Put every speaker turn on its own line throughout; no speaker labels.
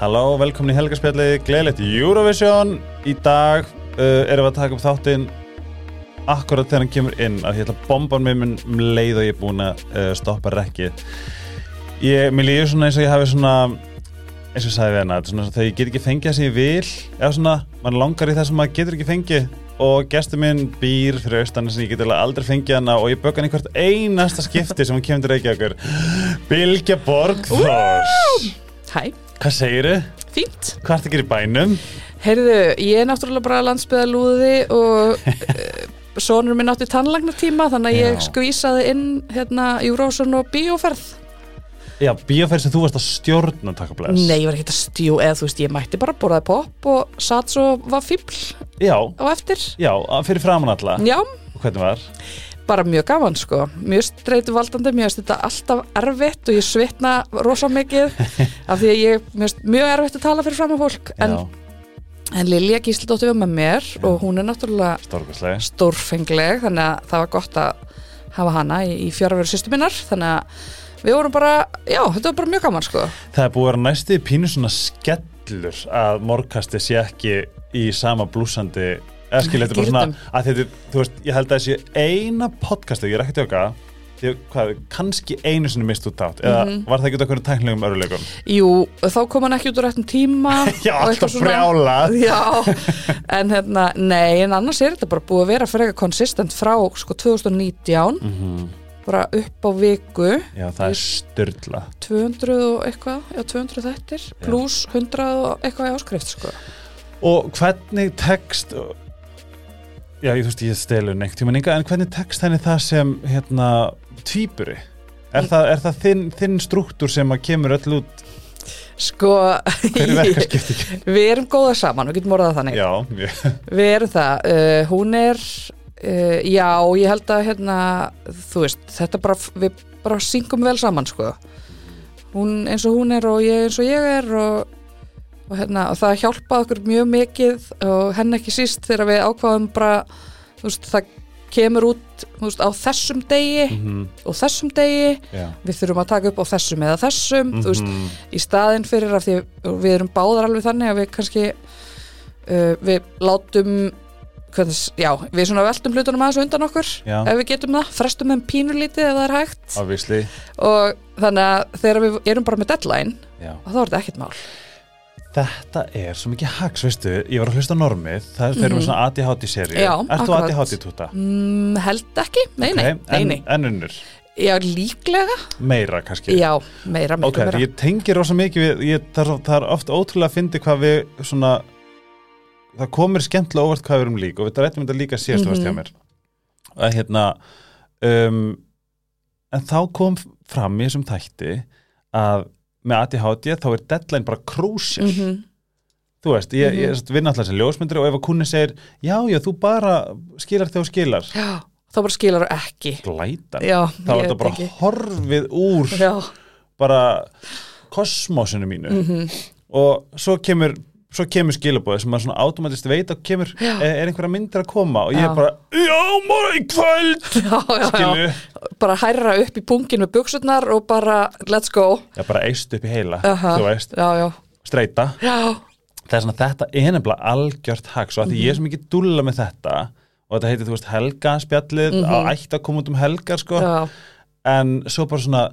Halló, velkomin í helgarspjallið, gleðilegt Eurovision Í dag uh, erum við að taka upp þáttinn Akkurat þegar hann kemur inn Af því ég ætla að bomba hann með minn um leið og ég er búin að uh, stoppa rekkið ég, Mér líður svona eins og ég hafi svona Eins og ég sagði við hana þetta er svona, eins og Þegar ég get ekki fengið það sem ég vil Eða svona, mann langar í það sem maður getur ekki fengið Og gestur minn býr fyrir austan sem ég get eiginlega aldrei fengið hana og ég bögg hann í hvert einasta skipti sem hann kemur til Reykjavíkur Bilgja Borgþórs
Hæ,
Hvað segirðu?
fínt.
Hvað ertu að gera í bænum?
Heyrðu, ég er náttúrulega bara landsbyðalúði og eh, sonur minn átti tannlagnartíma þannig að
Já.
ég skvísaði inn hérna Júrósson og bíóferð.
Já, bíóferð sem þú varst að stjórna takk og bless
Nei, ég var ekki að stjú eða þú veist, ég mætti bara borðaði popp og satt svo var fíbl
Já,
á eftir.
já, að- fyrir framan alla
Já,
Og Hvernig var?
bara mjög gaman sko. Mjög streytu valdandi, mjög veist þetta alltaf erfitt og ég svitna rosa mikið af því að ég, mjög, mjög erfitt að tala fyrir fram að fólk. En,
já,
en Lilja Gísildóttir var með mér og hún er náttúrulega
stórkostlega
stórfengleg þannig að það var gott að hafa hana í, í fjárveru sýstu minnar þannig að við vorum bara, já, þetta var bara mjög gaman sko
Það er búið að vera næstu pínu svona skellur að morgkasti sé ekki í sama blúsandi Eskil, þetta er bara
Gírnum.
svona að þetta, þú veist, ég held að þessi eina podcasti, ég er ekki að tjóka ég, hvað, kannski einu sinni mist út átt eða
Mhm.
var það ekki út okkur tæknilegum öruleikum
Jú, þá kom hann ekki út á réttum tíma
Já,
og
alltaf
eitthvað svona.
frjálað.
Já, en hérna, nei, en annars er þetta bara búið að vera frekar konsistent frá sko 2019 bara upp á viku
Mhm. Já, það er styrla
200 og eitthvað, já 200 þettir pluss 100 og eitthvað í áskrift sko
Og hvernig tekst Já, ég þú veist, ég stelur neitt tíma en hvernig tekst henni það sem hérna, tvíburi? Er það, er það þinn, þinn struktúr sem að kemur öll út
Sko,
hverju verkarskipti?
við erum góða saman, við getum orðað það þannig
Já, mjög.
Við erum það, uh, hún er, uh, já, ég held að hérna, þú veist, þetta bara, við bara syngum vel saman, sko. Hún eins og hún er og ég eins og ég er og, og hérna, og það hjálpaði okkur mjög mikið og henn ekki síst þegar við ákvaðum bara, þú veist, það kemur út, þú veist, á þessum degi
Mhm.
og þessum degi,
Já.
við þurfum að taka upp á þessum eða þessum,
Mhm.
þú veist, í staðin fyrir af því að við erum báðar alveg þannig að við kannski uh, við látum hvernig, já, við svona veltum hlutunum aðeins á undan okkur
Já.
ef við getum það, frestum þeim pínulítið ef það er hægt
Obviously.
og þannig að þegar við erum bara með deadline
Já.
þá er þetta ekkert mál
Þetta er svo mikið hags, veistu, ég var að hlusta á normið, það er fyrir með svona ADHD-seri.
Mhm. Já,
Ert þú
akkurat.
ADHD-túta?
mm, held ekki, nei,
Ok,
nei,
en,
nei, nei.
En unnur,
já, líklega,
meira kannski.
já, meira, meira,
Ok,
meira.
ég tengi rosa mikið við, ég, það, er svo- það er oft ótrúlega að fyndi hvað við svona, það komir skemmtilega óvart hvað við erum lík og við rættum þetta líka síðast mm -hmm. hjá
Mhm.
mér. Að hérna, um, en þá kom fram í þessum þætti að með ADHD þá er deadline bara crucial.
Mhm.
Þú veist, ég, mm -hmm. ég vinn alltaf sem ljósmyndri og ef að kunni segir, já, já, þú bara skilar þegar þú skilar,
já, þá bara skilur ekki
glæta.
já,
Þá
ég
er þetta
veit
bara
ekki.
horfið úr
já,
bara kosmosinu mínu
Mhm.
og svo kemur svo kemur skilabóðið sem maður svona automatist veit að kemur, "Eh,
Já.
er, er einhverja myndir að koma og ég er
Já.
bara, já, morgun í kvöld
já, já, já
skilu,
bara hærra upp í pungin með buksutnar og bara let's go
ég bara eist upp í heila
Aha,
þú veist,
já, já,
streyta
já,
það er svona þetta er nefnilega algjört hags og að því
Mhm.
ég er sem ekki dúlla með þetta og þetta heitir, þú veist, helga spjallið mm
Mhm.
á ætt að koma út um helgar sko
já,
en svo bara svona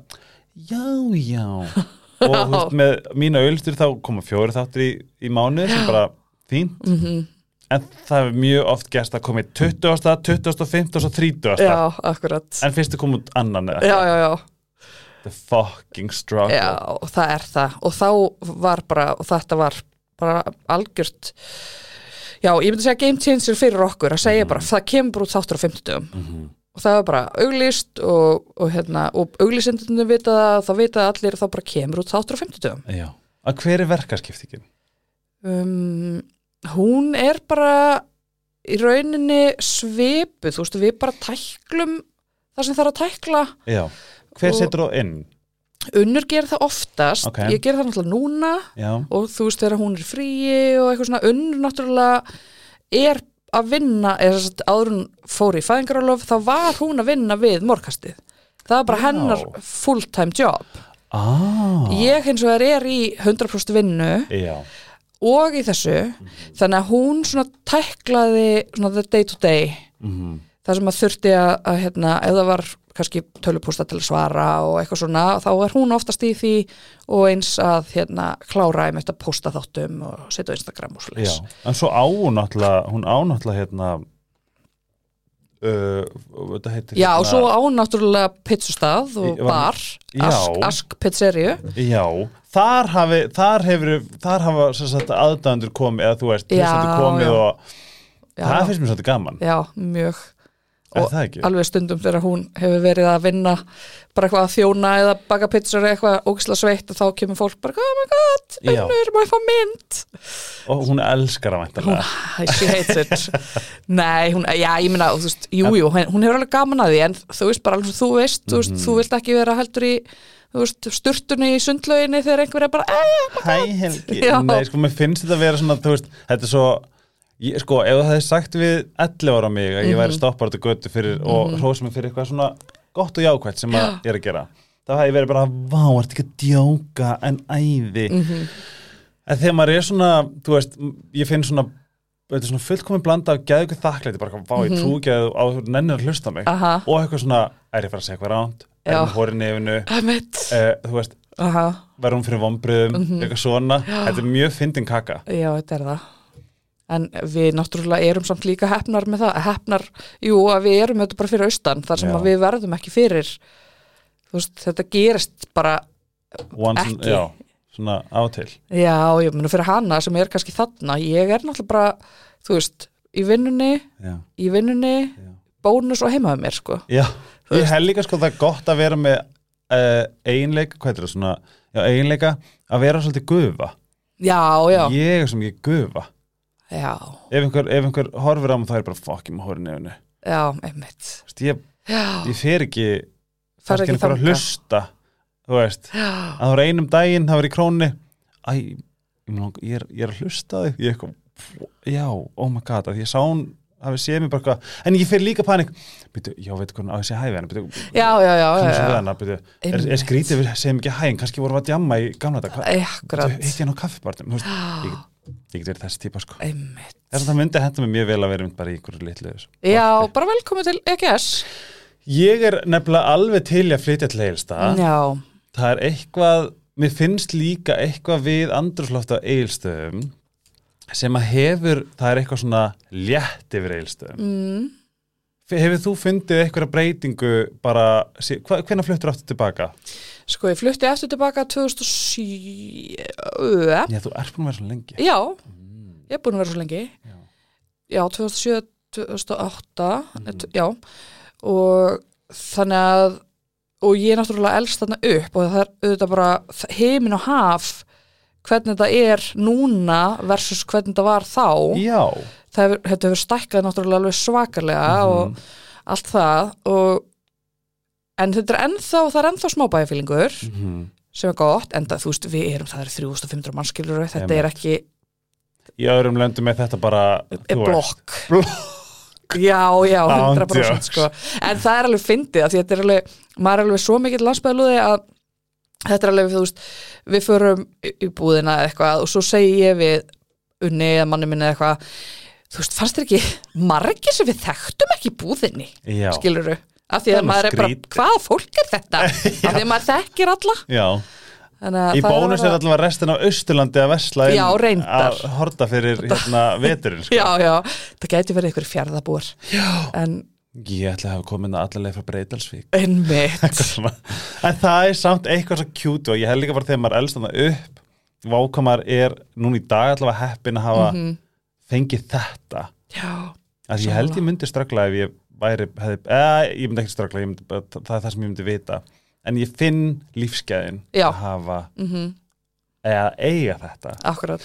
já, já og þú veist, með mína auðlistur þá koma fjóri þáttir í, í mánuð sem bara fínt
Mhm.
en það er mjög oft gerst að koma í 20. 25. og 30.
já, akkurat
en fyrst er komið út annan eða
já, já, já,
the fucking struggle
já, og það er það og þá var bara, og þetta var bara algjört já, ég myndi segja game changer fyrir okkur að
Mm.
segja bara, það kemur bara út þáttur á 50
Mhm.
og það var bara auglýst og, og hérna, og auglýsendunum vita það, þá vita allir að það bara kemur út þáttur á 50
Já. að hver er verkarskiptingin?
um, hún er bara í rauninni svipu þú veist, við bara tæklum það sem þarf að tækla
Já. hver
Og-
setur þú inn?
unnur ger það oftast,
Ok.
ég ger það náttúrulega núna
Já.
og þú veist þegar hún er í fríi og eitthvað svona unnur náttúrulega er að vinna, eða þess að áður hún fór í fæðingarálof, þá var hún að vinna við morgkastið, það var bara
Já.
hennar full time job
ah,
Ég hins vegar er í 100% vinnu
Já,
og í þessu þannig að hún svona tæklaði svona the day to day
mhm,
það sem að þurfti að, að hérna, ef það var kannski tölupústa til að svara og eitthvað svona, þá er hún oftast í því og eins að hérna klára einmitt að posta þáttum og setja á Instagram og
já
slags
En svo á hún náttúrulega, hún á náttúrulega hérna uh, Þetta heitir
Já, og
hérna,
svo á hún náttúrulega pizzustað og
Í- var-
bar,
Já.
ask, ask pizzeríu
Já, þar, hafi, þar hefur þar hafa sem sagt, aðdæðandur komið eða þú veist,
Já,
hlustendur komið
já.
og það
já,
finnst mér svolítið gaman
já, mjög
Er
og
það ekki?
alveg stundum þegar hún hefur verið að vinna bara eitthvað að þjóna eða baka pizzur eða eitthvað ógislega sveitt og þá kemur fólk bara, oh my god,
Já.
unnur, má ég fá mynd
og hún elskar að væntalega
Æ, she hates it Nei, hún, já, ég meina, þú veist, jú, jú hún hún hefur alveg gaman að því, en þú veist bara alveg eins og þú veist, þú
Mhm.
veist, þú vilt ekki vera heldur í þú veist, sturtunni í sundlauginni þegar einhver er bara, "Eh,
Hæ Helgi,
Já.
nei sko, mér finnst þetta að vera svona, þú veist, þetta er svo ég, sko, ef það hefði sagt við 11 ára mig að ég
Mhm.
væri stoppar þetta götu fyrir og hrósa mig fyrir eitthvað svona gott og jákvætt sem að ég er að gera þá hefði ég verið bara, vá, ertu ekki að djóka en æði
Mhm.
en þegar maður er svona, þú veist ég finn svona, þetta er svona fullkomin blanda af geðugu þakklæti, bara, vá, ég trú ekki að þú- á þú nennir að hlusta á mig
Mhm. Aha.
og eitthvað svona, er ég að fara að segja eitthvað ránt er
Já.
hún hóri nefinu,
emmett
uh, þú veist
Aha,
verður hún fyrir vombriðum,
Mhm.
eitthvað svona þetta er mjög fyndin kaka
já, þetta er það En við náttúrulega erum samt líka hefnar með það, hefnar, jú, að við erum þetta bara fyrir austan, þar sem
Já.
að við verðum ekki fyrir þú veist, þetta gerist bara
Once
Ekki.
and, já, svona átil
Já, ég meina fyrir hana sem er kannski þarna, ég er náttúrulega bara, þú veist, í vinnunni,
já,
í vinnunni,
Já.
bónus og heimaðu mér, sko.
já.
Þú
ég hef líka sko það er gott að vera með uh, einleika, hvað er það svona já, einleika, að vera svolítið gufa
Já, já,
ég er sem ég gufa
já,
ef einhver, ef einhver horfir á mig þá er ég bara fuck, ég maður horfir nefnu
já, einmitt.
ég,
Já,
ég fer ekki
farið
kannski
ekki
einhver að
þangað.
hlusta þú veist,
Já,
að það var einum daginn það var í krónni Æ, ég, mun, langa- ég, er, ég er að hlusta á þig ég er kom, já, oh my god að því ég sá hún, hafi séð mér bara eitthvað en ég fer líka panik byrju, já, veit hvernig á ég að segja hæfi hennar byrju,
já, já, já,
kannski
já,
við
já,
hennar byrju, er,
Einmitt.
er skrítið við segjum ekki hægin, kannski vorum við að djamma í gamla dag hvað,
akkurat,
hitt ég hann á kaffibarnum þú veist, ég, get- ég get verið þessi típa sko
einmitt.
þess að það myndi henda mig mjög vel að vera einmitt bara í einhverju litlu þessu.
Já, bara velkomin til E EGS.
ég er nefnilega alveg til í að flytja til Egilstað
Já,
það er eitthvað, mér finnst líka eitthvað við andrúsloft á eilstöðum sem að hefur, það er eitthvað svona létt yfir eilstöðum.
mm,
Hefur þú fundið eitthvað breytingu bara, sí- hva, hvenær fluttur aftur tilbaka?
sko, ég flutti eftir tilbaka 2007.
Já, þú ert búin að vera svona lengi.
Já, ég er búin að vera svo lengi
Já.
Já, 2007, 2008 mm. Já, og þannig að og ég er náttúrulega elst þarna upp og það er auðvitað bara heimin og haf hvernig þetta er núna versus hvernig þetta var þá
Já,
það hefur, þetta hefur stækkað náttúrulega alveg svakalega
Mhm.
og allt það og en þetta er ennþá, það er ennþá smábæjarfýlingur
Mhm.
sem er gott, en það, þú veist, við erum það er 3500 mannskilur þetta er
Einmitt.
ekki
í öðrum löndum er þetta bara,
er
þú veist,
blokk já, já,
Án
100%
djóks.
sko. en það er alveg fyndið af því þetta er alveg, maður er alveg svo mikill landsbæðalúði að þetta er alveg, þú veist við förum í- í búðina eða eitthvað og svo segi ég við unni eða manni minni eða eitthvað þú veist, fannst þér ekki margir sem við þekktum ekki í búðinni,
já,
skilurðu af því
Það er
að
nú
maður er bara,
skrýtið.
hvað fólk er þetta af því að maður þekkir alla
já.
Þannig að
Í
það
bónus er
alveg-
allavega restin af Austurlandi að vesla inn
Já, reyndar.
að horta fyrir hérna veturinn. Sko.
já, já, það gæti verið ykkur fjárðabúar
Já.
en
Ég ætla að hafa komið allavega frá Breitalsvík.
einmitt
Svona. en það er samt eitthvað svo kjút og ég held líka bara þegar maður elst þarna upp vákamar er núna í dag allavega heppin að hafa
Mhm.
fengið þetta
já,
að ég held ég myndi ströggla ef ég væri hefði, eða, ég myndi ekki ströggla ég myndi, bara- það er það sem ég myndi vita en ég finn lífsgæðin
Já.
að hafa
mhm
eða eiga þetta
Akkurat.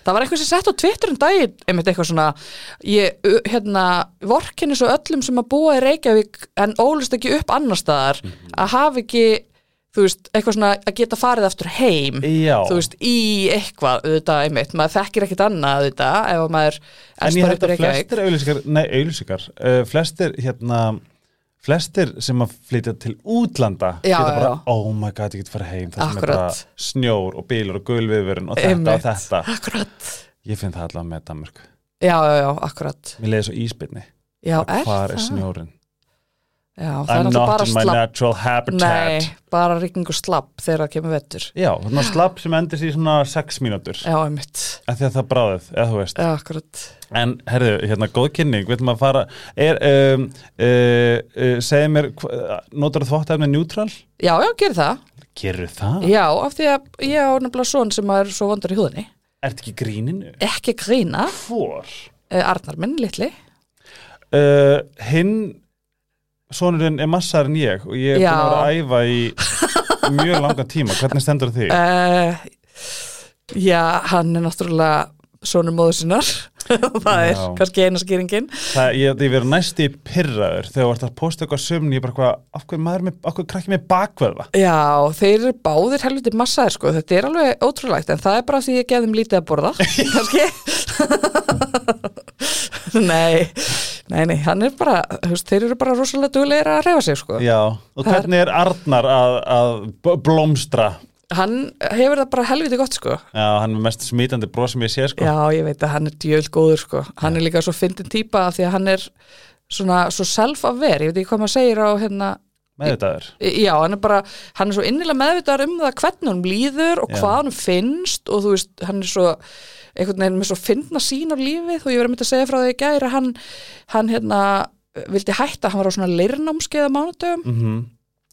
Það var eitthvað sem sett á Twitter um daginn, einmitt eitthvað svona, ég, ö, hérna, vorkinni svo öllum sem að búa í Reykjavík en ólist ekki upp annar staðar
Mhm.
að hafa ekki, þú veist, eitthvað svona að geta farið aftur heim,
Já,
þú veist, í eitthvað, auðvitað, einmitt, maður þekkir ekkit annað, auðvitað, ef að maður
en
elst
ég
bara
held
upp í
að
Reykjavík.
flestir auðlýsingar nei, auðlýsingar, uh, flestir eh, hérna flestir sem að flytja til útlanda
Já,
geta bara,
já.
oh my god, ég get farið heim það sem er bara
Akkurat.
snjór og bílur og gulviðverun og þetta
Einmitt.
og þetta
Akkurat
ég finn það allavega með Danmörk
Já, já, já, akkurat
mér leiði svo íspilni,
Já, er
hvar
það?
er snjórin
Já, það er
I'm
alltaf
not
bara
in my
slapp
natural habitat
Nei, bara rigning og slapp þegar það kemur vettur
já, svona slapp sem endist í svona 6 mínútur
Já, einmitt
af því að það bráðið, eða þú veist
Já, akkurat
En herðu, hérna, góð kynning, vil maður fara, er, um, uh, uh, segið mér, notur þú þvóttæfni neutral?
Já, já, gerir það
Gerðu það?
Já, af því að ég á nefnilega svon sem er svo vondur í húðinni
Ert ekki í gríninu?
Ekki grína,
Hvor?
eh, Arnar minn, litli
Uh, hinn, sonurinn er massar en ég og ég er
Já.
búin að vera að æfa í mjög langan tíma, hvernig stendur á því?
uh, Já, hann er náttúrulega sonur móður sinnar Það er
Já.
kannski eina skýringin
Það, ég, ég verið næsti pirraður þegar þú ert að posta eitthvað sömni, ég bara hvað, af hverju maður, með, af hverju krakki með bakveðva?
Já, þeir eru báðir helviti massaðir sko, þetta er alveg ótrúlegt en það er bara því ég geðum lítið að borða kannski Nei, nei, nei hann er bara, hefst, þeir eru bara rosalega duglegir að reyfa sig sko
Já, og
Það er-
hvernig er Arnar að, að b- blómstra?
Hann hefur það bara helviti gott sko
Já, hann er mest smítandi bros sem ég sé sko.
Já, ég veit að hann er djöld góður sko hann er líka svo fyndin típa af því að hann er svona, svo self-aware ég veit ekki hvað maður segir á hérna
meðvitaður
Já, hann er bara, hann er svo innilega meðvitaður um það hvernig hann líður og
Já.
hvað hann finnst og þú veist, hann er svo einhvern veginn með svo fyndna sín af lífið og ég verið myndi að segja frá því í gæri að hann, hann hérna, vildi hætta, hann var á svona leirnámskeið á mánudöfum,
mm -hmm.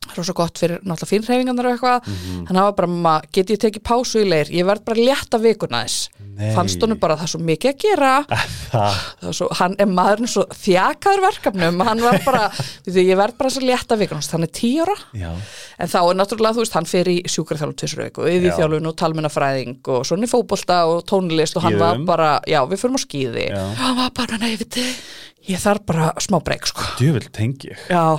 það var svo gott fyrir náttúrulega fínreifingarnar og eitthvað, hann hafa bara, mamma, get ég tekið pásu í leir, ég verð bara létta vikuna þess,
Nei. Ah.
fannst honum bara það er svo mikið að gera,
það,
það var svo, hann er maðurinn svo þjakaður verkefnum, hann var bara, þú veit, ég verð bara svo létta vikuna hans, þannig tíu ára
já,
En þá er náttúrulega, þú veist, hann fer í sjúkraþjálun tvisur viku, og yfirþjálun og talmennafræðing og svona í fótbolta og tónlist og hann var
Skíðum.
bara, já, við förum á skíði
Já.
og hann var bara, nei, við þið, ég þarf bara smá breyk, sko.
djúvill tengi ég.
Já,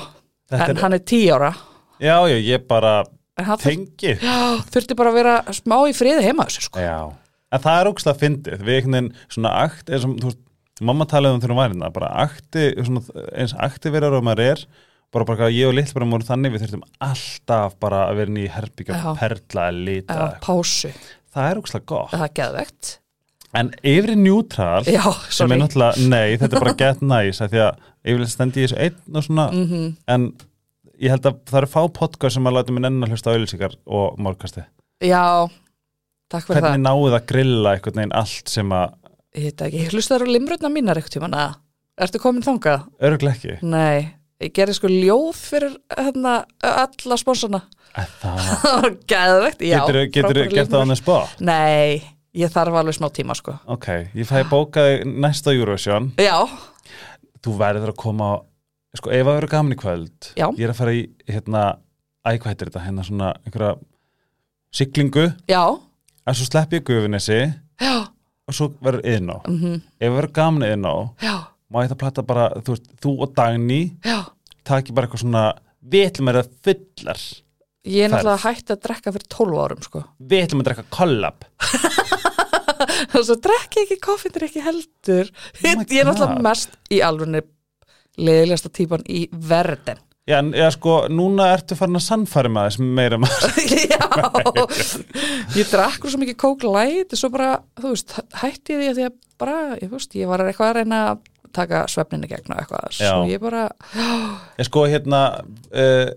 Þetta
en
er-
hann er tíu ára.
já, já, ég bara
En hann þurf,
tengi
já, þurfti bara að vera smá í friði heima þessu, sko.
já, en það er ógslag fyndið við einhvern veginn svona akt eins og, þú veist, mamma talaði um þegar hún var hérna bara akti, svona, eins akti verður og maður er bara bara hvað ég og Lill bara vorum þannig við þurftum alltaf bara að vera inn í herbyggja
Já.
perla að
Já,
lita
pásu,
það er ógslag gott
það er geðvegt.
en yfir í neutral
Já,
sem er
sorry.
náttúrulega, nei, þetta er bara get nice af því að yfirleitt stendi ég þessu einn og svona,
Mhm.
en ég held að það eru fá podcast sem að láta minn enn að hlusta á auðlýsingar og morgkasti
Já, takk fyrir
hvernig
það.
náuð að grilla einhvern veginn allt sem að,
Ég veit ekki, ég hlustaður á limrutna mínar ekkert tíma, neða. Ertu komin þangað?
öruglega ekki
Nei, ég gerði sko ljóð fyrir hérna, alla sponsorna
að það,
Gæðvegt, já
getur, getur
frábærar
gert það
línur.
annars bóð
Nei, ég þarf alveg smá tíma sko
ok, ég fæ bókaði næsta Eurovision
Já,
þú verður að koma á- sko, ef það eru gaman í kvöld
Já.
ég er að fara í, hérna, æ, hvað heitir þetta hérna svona, einhverja siglingu,
já,
en svo slepp ég gufinessi
já,
og svo verður yðná
mm
ef verður gaman yðná
já,
má ég það plata bara, þú veist, þú og Dagný
já
taki bara eitthvað svona við ætlum að vera fullar
Ég er
Ferð.
náttúrulega hætt að drekka fyrir 12 árum sko
við ætlum að drekka kollab
Svo drekki ekki koffin, drekki heldur
Oh my
Ég er náttúrulega
God.
mest í alveg leiðilegasta típan í verðin
já, en já, sko, núna ertu farin að sannfæri maður sem meira um maður
Já, ég drakk svo mikið kók light og svo bara, þú veist, hætti ég því að því að bara, ég veist, ég var eitthvað að reyna að taka svefninu gegn og eitthvað svo
Já.
ég bara,
ég sko, hérna uh,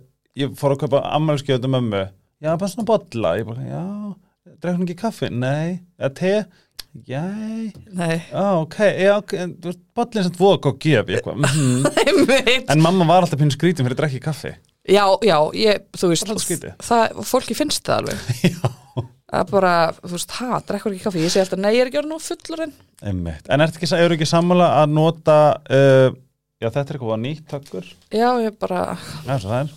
ég fór að kaupa ammælskjöðu mömmu já, bara svona bolla ég bara, já, drekka hún ekki kaffi nei, eða te já,
nei,
já, ok, já, ok en, þú veist, bollin sem þú og gef ég eitthvað mhm.
einmitt
en mamma var alltaf pínu skrítum fyrir að drekka ekki kaffi
Já, já, ég, þú veist
Það er svolítið skrítið.
það, fólki finnst það alveg að bara, þú veist, ha, drekkur ekki kaffi ég segi alltaf, nei, ég er ekki orðin nú fullur en
Einmitt. En ertu ekki, eru ekki sammála að nota uh, já þetta er eitthvað nýtt takkur
já, ég bara,
já svo það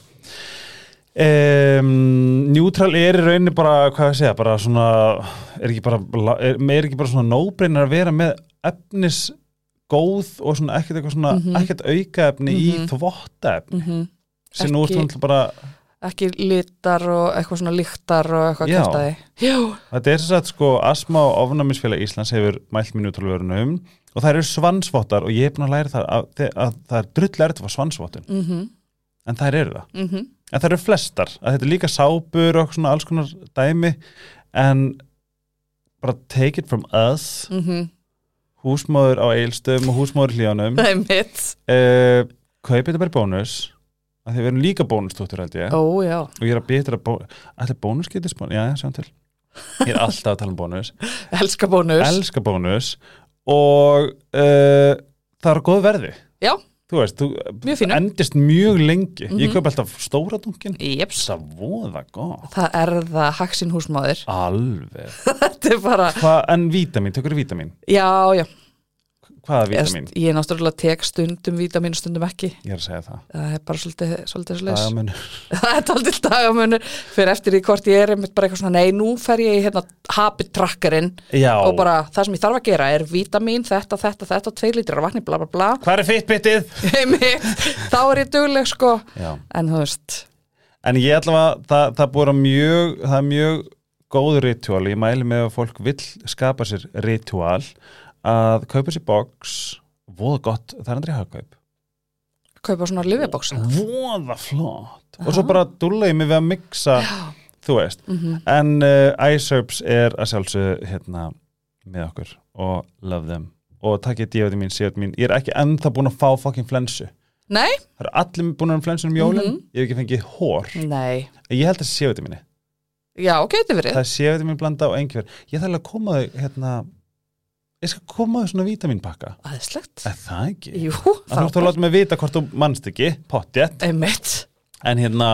er um, Neutral er í rauninni bara hvað ég segja, bara svona er ekki bara, er, er ekki bara svona nóbreynir að vera með efnis góð og svona ekkert eitthvað svona ekkert aukaefni í þvottaefni sem nú
Ekki-
ertu náttúrulega bara
ekki litar og eitthvað svona líktar og eitthvað
Já.
kjartaði Já,
þetta er þess að sko Asma og ofnæmisfélag Íslands hefur mælt mér Neutral-verunum og það eru svansvottar og ég er búin að læra það að, að það er drull erfitt að fá svansvottun
mhm,
en þær eru það
mm
en það eru flestar, að þetta er líka sápur og svona alls konar dæmi en bara take it from us
mhm.
húsmóður á eilstöðum og húsmóður í hlíðanum
það er mitt
uh, kaupið þetta bara í bónus að því við erum líka bónustúttur held ég
ó já,
og ég er að betra allir bónus getist bónus, já, sjáum til ég er alltaf að tala um bónus
elska bónus
elska bónus og uh, það er á góð verði
Já.
þú veist, þú
Mjög fínu.
endist mjög lengi ég
Mhm.
kaup alltaf stóra dunkin
Jeps.
það voða gott
það er það haksin húsmaður
alveg
þetta er bara,
Hva, en vítamin, tökur vítamin
já já
hvaða vítamin?
Ég, ég er náttúrulega tek stundum vítamin stundum ekki
ég er að segja það
það er bara svolítið, svolítið slags
Dagamun,
það er aldrei dagamunur fyrir eftir því hvort ég er einmitt bara eitthvað svona nei, nú fer ég í hérna habit trackerinn
já,
og bara það sem ég þarf að gera er vítamin, þetta, þetta, þetta, tveir lítrar af vatni, bla bla bla
hvað er fitbitið?
Einmitt. þá er ég dugleg sko
Já.
en þú veist,
en ég ætla að það, það búið að mjög það er mjög góð ritual ég mæli með að fólk vill skapa sér ritual að kaupa sér box voða gott, það er andrið hagkaup
kaupa svona lifjabóksa
voða flott og svo bara dúlla ég mig við að mixa þú veist,
mhm.
en uh, iSerbs er að sjálfsög hérna með okkur og love them og takkið dífæti mín, síðan mín ég er ekki ennþá búin að fá fucking flensu
nei,
það eru allir búin að um flensu um jólin
Mhm.
ég hef ekki fengið hór,
nei,
ég held að síðan minni
já, getur verið
það er síðan mín blanda og einhver ég þarf alveg að koma þau hérna ég skal koma þau svona vítaminpakka
aðeinslegt,
er það ekki?
jú
Það þú ert að láta mig vita hvort þú manst ekki, pottjett
einmitt
en hérna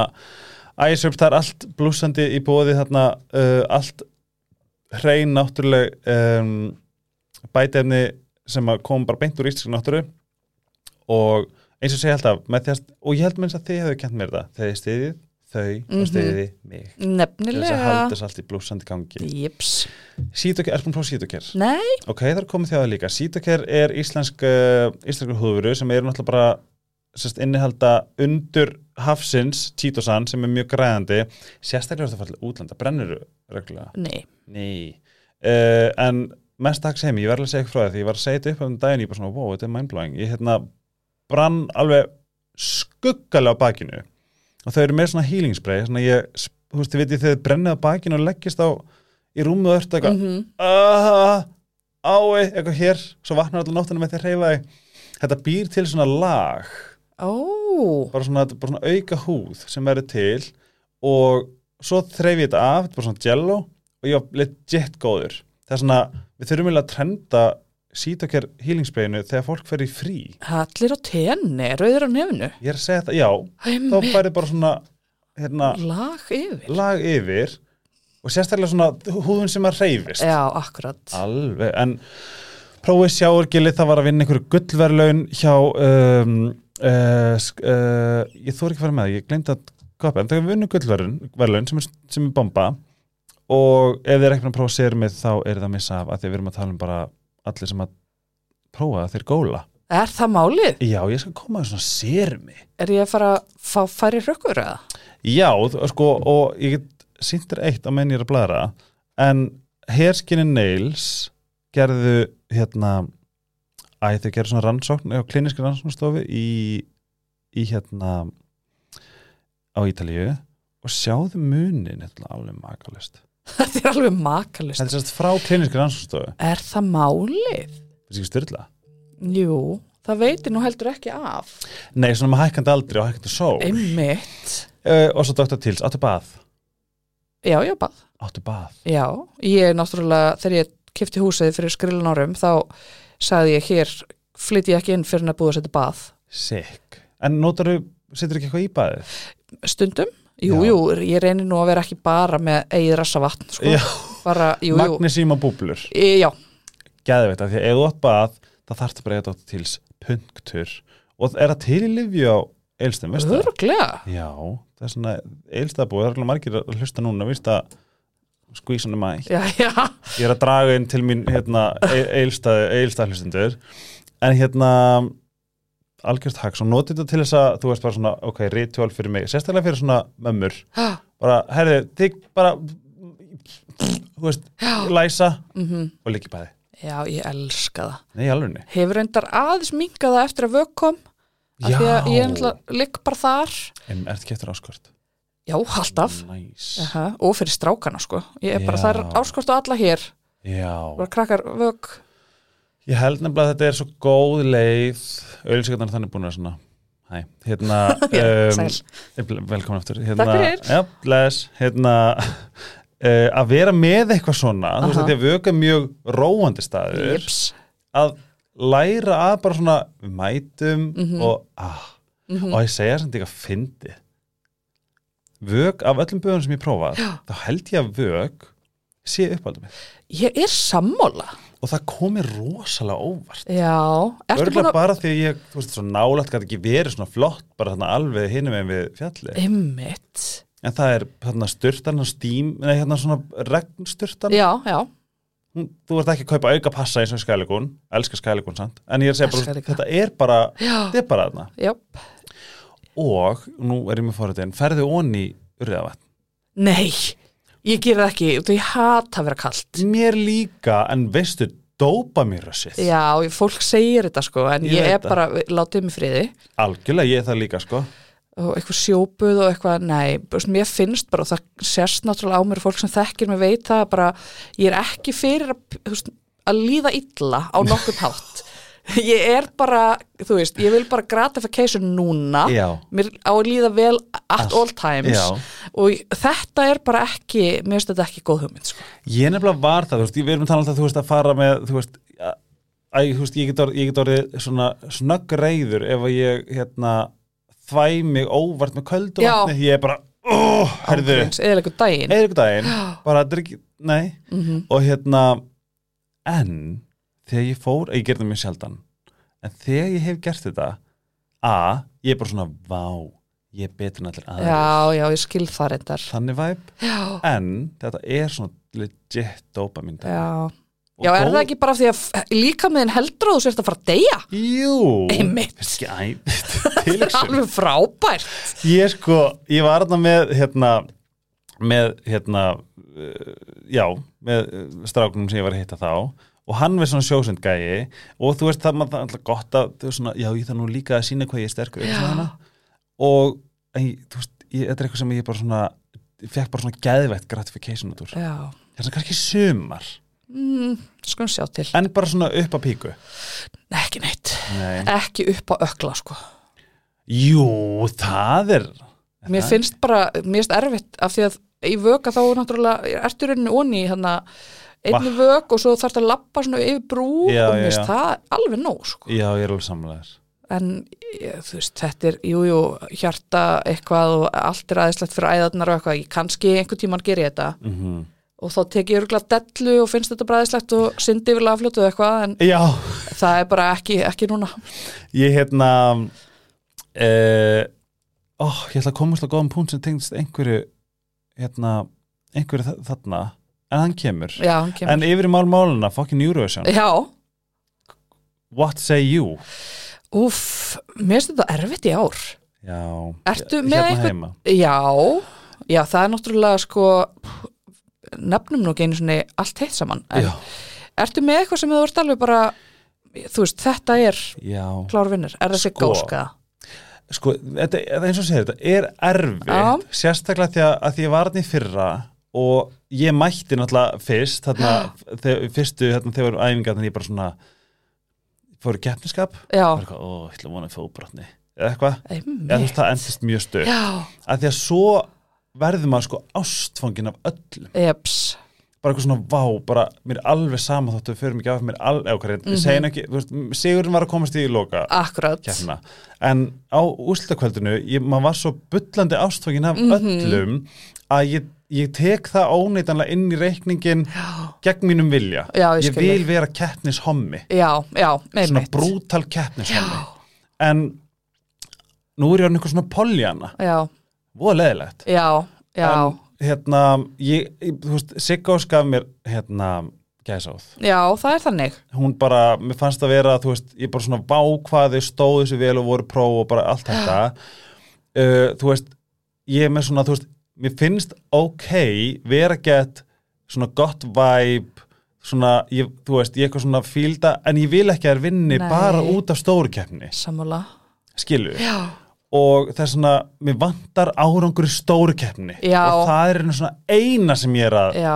æsöps það er allt blúsandi í bóði þarna uh, allt hrein náttúruleg um, bætefni sem að kom bara beint úr íslensk náttúru og eins og segja alltaf með því að, og ég held meins að þið hefðu kent mér það þegar þið stiðið þau
Mhm.
og stiðið mig til þess að halda
nefnilega
þess allt í blúsandi gangi
jips,
sítoker, er búin að prófa sítoker
nei,
ok, það er komið þjáða líka sítoker er íslensk uh, íslensku húðvöru sem eru náttúrulega bara sérst, innihalda undur hafsins, títosan, sem er mjög græðandi sérstaklega er þetta fallið útlanda, brennur reglulega,
nei
nei uh, en mest takk sem ég verður að segja ykkur frá því, ég var að segja þetta upp um daginn ég bara svona, wow, þetta er mindblowing, ég hérna brann alveg skuggalega á bakinu og þau eru með svona healing spray, svona ég þú veist, þið veit ég þegar þið brennið á bakinu og leggist á í rúmið og öllu eitthvað
mhm
uh, ái, eitthvað hér svo vaknar allar nóttina með því að reyfa því þetta býr til svona lag
Ó,
bara svona, bara svona auka húð sem verður til og svo þreyfi ég þetta af, þetta er bara svona jello og ég var legit góður það er svona, við þurfum eiginlega að trenda sítakjar healing-sprayinu þegar fólk fer í frí
allir á tenni, rauður á nefnu
ég er að segja þetta, já, þá
Einmitt,
færið bara svona hérna,
lag yfir
lag yfir og sérstaklega svona húðun sem að reyfist
Já, akkurat
Alveg, en prófið sjáurgilið það var að vinna einhverju gullverlaun hjá um, uh, sk- uh, ég þór ekki að fara með það, ég glemt að koppa, en þegar við vinnum gullverlaun sem er, sem er bomba og ef þið er ekki búin að prófa sérmið þá er það að missa af að því að við erum að tala um bara allir sem að prófa það, þeir góla
Er það málið?
Já, ég skal koma að svona sérmi
Er ég að fara að fá færi hrökkur eða?
Já, þú- sko, og ég get sýndir eitt á menn ég er að blæðra en Hairskin and Nails gerðu hérna æ, þau gerðu svona rannsókn á kliniski rannsóknstofu í, í hérna á Ítalíu og sjáðu munin þetta er alveg makalist
Þetta er alveg makalist
þetta er sérst frá kliniski rannsóknstofu
Er það málið?
þetta er ekki styrla
Jú, það veitir nú heldur ekki af
Nei, svona með hækkandi aldri og hækkandi sól uh,
Einmitt
og svo Dr. Tils, áttu bað
Já, já, bað
áttu bað
Já, ég er náttúrulega, þegar ég kefti húsið fyrir skrillin árum þá sagði ég hér flytt ég ekki inn fyrir en að búið að setja bað
sick en notaru, setur ekki eitthvað í baðið
Stundum? Jú,
Já.
jú, ég reynir nú að vera ekki bara með eigið rassa vatn, sko
Já.
bara, jú, jú,
magnesíma búblur
e, já,
geðveitt af því að ef þú átt bað það þarf bara að þetta til punktur og er það til í livju á eilstum, veistu það?
örglega
Já, það er svona eilstabúið, það er alveg margir að hlusta núna, víst að skvísan er mæ
já, já,
ég er að draga inn til mín hérna, eilstað, eilstað hlustundur en hérna algjörst haks og notið þetta til þess að þú veist bara svona, ok, ritual fyrir mig sérstaklega fyrir svona mömmur
Ha,
bara, herði, þig bara þú veist, læsa
mhm.
og líki bæði
já, ég elska það
Nei, í alvegni
hefur reyndar aðeins minkaða eftir að vökk kom af því að
Já.
ég náttúrulega ligg bara þar
En ert ekki eftir áskort?
já, alltaf
Næs.
Aha, og fyrir strákana sko ég er bara
Já.
þar áskort og alla hér
Já.
bara krakkar vök
Ég held nefnilega að þetta er svo góð leið auðvilsingarnar þannig búin að vera svona Hæ, hérna
Já,
um,
sæl.
eh, ble- Velkomin aftur hérna,
Takk fyrir.
Já, bless Hérna Uh, að vera með eitthvað svona þú veist
Aha.
þetta er vöka mjög róandi staður
Jips.
að læra að bara svona við mætum
Mhm.
og ah, og ég segja samt eitthvað fyndi vök af öllum böðum sem ég prófað þá held ég að vök sé uppáldum
ég er sammála
og það komi rosalega óvart
já, ertu búin
Örgulega
að
bara því að ég, þú veist, svo nálægt gæti ekki verið svona flott bara þarna alveg hinum en við fjalli.
Einmitt.
En það er þarna styrtan og stím, nei hérna svona regnstyrtan.
Já, já,
Hún- Þú ert ekki að kaupa auka passa eins og skælegun, elska skælegun samt. En ég er að segja
Elska
bara,
líka.
þetta er bara,
já,
þetta er bara þarna.
já.
Og, nú er ég með fóruðin, ferðu onni urðavatn.
Nei, ég ger það ekki Þú, ég hata að vera kalt
Mér líka, en veistu, dópa mér rössið.
Já, fólk segir þetta sko En
Ég
ég,
veit
er bara, látið mig friði
Algjörlega, ég er það líka, sko.
Og eitthvað sjópuð og eitthvað Nei, bara svona, mér finnst bara Og það sérst náttúrulega á mér og Fólk sem þekkir mig veit það bara, Ég er ekki fyrir að, þú veist, að líða illa Á nokkuð hátt Ég er bara, þú veist, ég vil bara gratification núna
Já.
Mér á að líða vel at
Allt,
all times
já.
Og þetta er bara ekki, mér finnst þetta ekki góð hugmynd sko.
Ég nefnilega var það, þú veist, við erum að tala alltaf, þú veist, að fara með, þú veist, að, æ, þú veist ég, get orðið, ég get orðið svona snögg reyður ef að ég, hérna, þvæ mig óvart með köldu
Já.
vatni, ég er bara, óh, herðu,
Eða eitthvað daginn Mhm.
eða ykkur daginn, bara þetta er ekki, nei, og hérna, en, þegar ég fór, ég gerði mér sjaldan, en þegar ég hef gert þetta, a, ég er bara svona, vá, ég er betur en allir aðeins,
Já, já, ég skil það reyndar
þannig væp,
Já,
en þetta er svona legit dopa mín
já Já, er það ekki bara því að f- líkamiðin heldur að þú sért að fara að deyja?
Jú,
Einmitt.
Finnst ekki, æ, tilhugsun.
Alveg frábært
Ég sko, ég var þarna með hérna, með hérna uh, já, með uh, stráknum sem ég var að hitta þá og hann við svona sjósund gæi og þú veist það maður það er alltaf gott að þú veist svona, já, ég þarf nú líka að sína hvað ég er sterkur eitthvað svona. og en, ég- þú veist, ég, þetta er eitthvað sem ég bara svona ég fekk bara svona geðvægt gratification út úr
Já,
þess að kannski sumar
mm, skoðum sjá til
en bara svona upp að píku
Nei, Ekki neitt,
Nei.
ekki upp á ökla sko
Jú, það er
Mér finnst bara, mér finnst erfitt af því að í vöka þá náttúrulega ertu í rauninni onni í hérna einni vök og svo þarfst að lappa svona yfir brú
Já,
og
já,
mér finnst
já.
það alveg nóg sko
Já, ég er alveg samlegaður
en ég, þú veist, þetta er jú, jú, hjarta eitthvað og allt er aðeinslegt fyrir æðarnar og eitthvað, ég kannski einhvern tímann ger ég þetta
mm
og þá tek ég örgulega dellu og finnst þetta bræðislegt og syndi yfir laflötu og eitthvað en
Já,
það er bara ekki, ekki núna
ég hérna uh, ó, ég ætla að komast á góðan punkt sem tengdist einhverju hérna, einhverju þa- þarna en hann kemur,
já, hann kemur
en yfir í mál máluna fucking Eurovision,
já,
what say you?
úff, mér finnst þetta erfitt í ár
Já,
Ertu
hér-
með
hérna
einhvern-
heima
já, já, það er náttúrulega sko nefnum nú ekki einu svona allt heitt saman en
Já.
ertu með eitthvað sem þú ert alveg bara þú veist, þetta er
Já,
klárvinnir er þessi
Sko.
góska
sko, þetta, þetta eins og segir þetta er erfitt,
Já.
sérstaklega því að, að því ég var hann í fyrra og ég mætti náttúrulega fyrst þarna, þegar, fyrstu, þarna, þegar voru æfingar þannig ég bara svona fór í keppniskap
já,
bara eitthvað, ó, ég ætla að vona fóbrotni eða eitthvað, eða þú
einmitt
veist það endist mjög stuð
já,
að því að svo verður maður sko ástfangin af öllum
eps,
bara eitthvað svona vá, bara mér er alveg sama þóttu við förum ekki af mér er alveg, eða hverju, mm
Mhm.
-hmm. ekki þú veist, sigurinn var að komast í loka
akkurat
keppna, en á úrslitakvöldinu ég, maður var svo bullandi ástfangin af
Mhm.
öllum að ég, ég tek það óneitanlega inn í reikningin gegn mínum vilja
Já, ég
ég
skil
vil vera keppnishommi
já, já,
svona
einmitt
brútal keppnishommi en nú er ég hann einhver svona poljana
já,
voða leðilegt
já, já
en hérna, ég, ég, þú veist Siggós gaf mér hérna gæsáð
Já, það er þannig
hún bara, mér fannst að vera þú veist, ég bara svona vá hvað þau stóðu sér vel og voru pró og bara allt þetta uh, þú veist ég er með svona, þú veist, mér finnst ok, vera gett svona gott vibe svona, ég, þú veist, ég eitthvað svona fílda en ég vil ekki að þær vinni
Nei.
bara út af stóru keppni
Sammála
skilu
já,
og það er svona, mér vantar árangur í stóru keppni
Já. Eh.
og það er einu svona eina sem ég er að
já,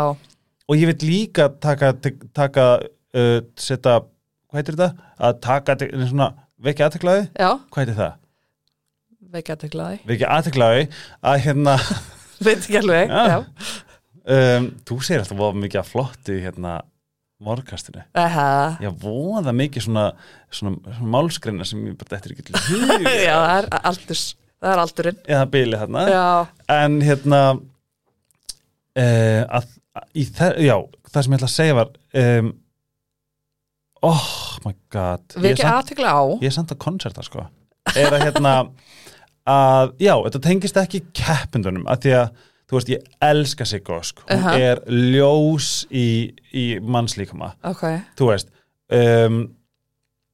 og ég veit líka taka, te- taka uh, setja, hvað heitir þetta? að taka, te- svona, vekja aðteklaði
já
hvað heitir það?
veikja þetta glæði,
vekja aðteklaði að hérna
veit ekki alveg
Já.
já,
um, þú segir alltaf voða mikið að flottu í, hérna morgkastinu
Aha.
Já, voða mikið svona, svona, svona málskreina sem ég bara þetta er ekki til hug
já, það er aldurs það er aldurinn,
eða bilið þarna
já,
en hérna uh, að, að í þe já, það sem ég ætla að segja var um, oh my god ég er,
vekja
samt,
aðtekla á
ég er samt að koncerta sko er að hérna að, já, þetta tengist ekki keppindunum að því að þú veist, ég elska sig gósk, hún
Uh-huh.
er ljós í, í mannslíkama
ok,
þú veist um,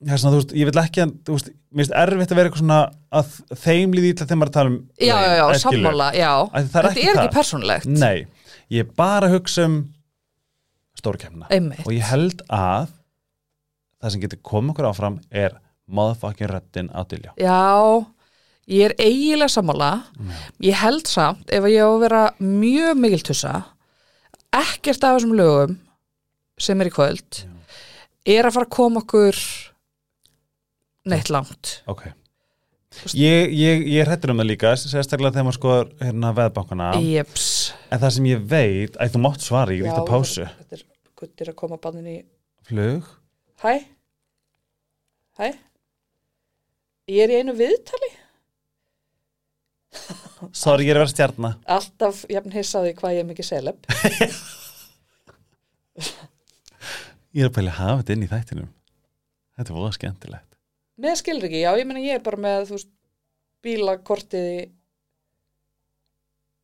það er svona, þú veist, ég vil ekki að, þú veist, mér finnst erfitt að vera eitthvað svona að þeim líði ítla þegar maður er að tala um
já, já, já,
Eða skilur.
sammála já,
Æ, það er
þetta
ekki
er
það.
ekki persónulegt
Nei, ég er bara að hugsa um stórkemna
einmitt,
og ég held að það sem getur komið okkur áfram er motherfucking röddin á dilja
já ég er eiginlega sammála ég held samt, ef ég á að vera mjög mikil tussa ekkert af þessum lögum sem er í kvöld er að fara að koma okkur neitt langt
Ok Ég, ég, ég hrættur um það líka, sérstaklega þegar maður skoðar hérna veðbankana,
Jeps
en það sem ég veit, að þú mátt svara, ég gríta pásu.
Þetta er guttir að koma bannin í
Flug?
Hæ? Hæ? Ég er í einu viðtali
Sorry, ég er að vera stjarnar.
alltaf jafn hissaði hvað ég er mikið seleb
Ég er að pæli að hafa þetta inn í þættinum. Þetta er voða skemmtilegt.
Nei, skilur ekki, já, ég meina ég er bara með þú veist, bílakortið í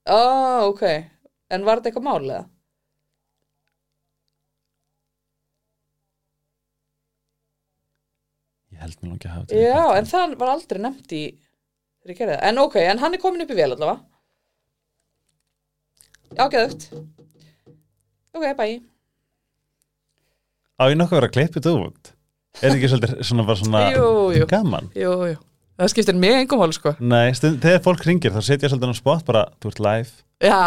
Á, ok En var þetta eitthvað málega?
Ég held mér langi að hafa þetta inn í
Já,
þættinum.
en það var aldrei nefnt í þegar ég gerði það. En ok, en hann er komin upp í vel allavega Já, geðugt Ok, bye
Á ég nokkuð að vera að klippa þetta út? Er þetta ekki svolítið svona bara svona
Jú, jú.
gaman?
Jú, jú, það skiptir mig engum máli sko
Nei, stund, þegar fólk ringir þá setja ég svolítið á spot bara, þú ert live,
Já,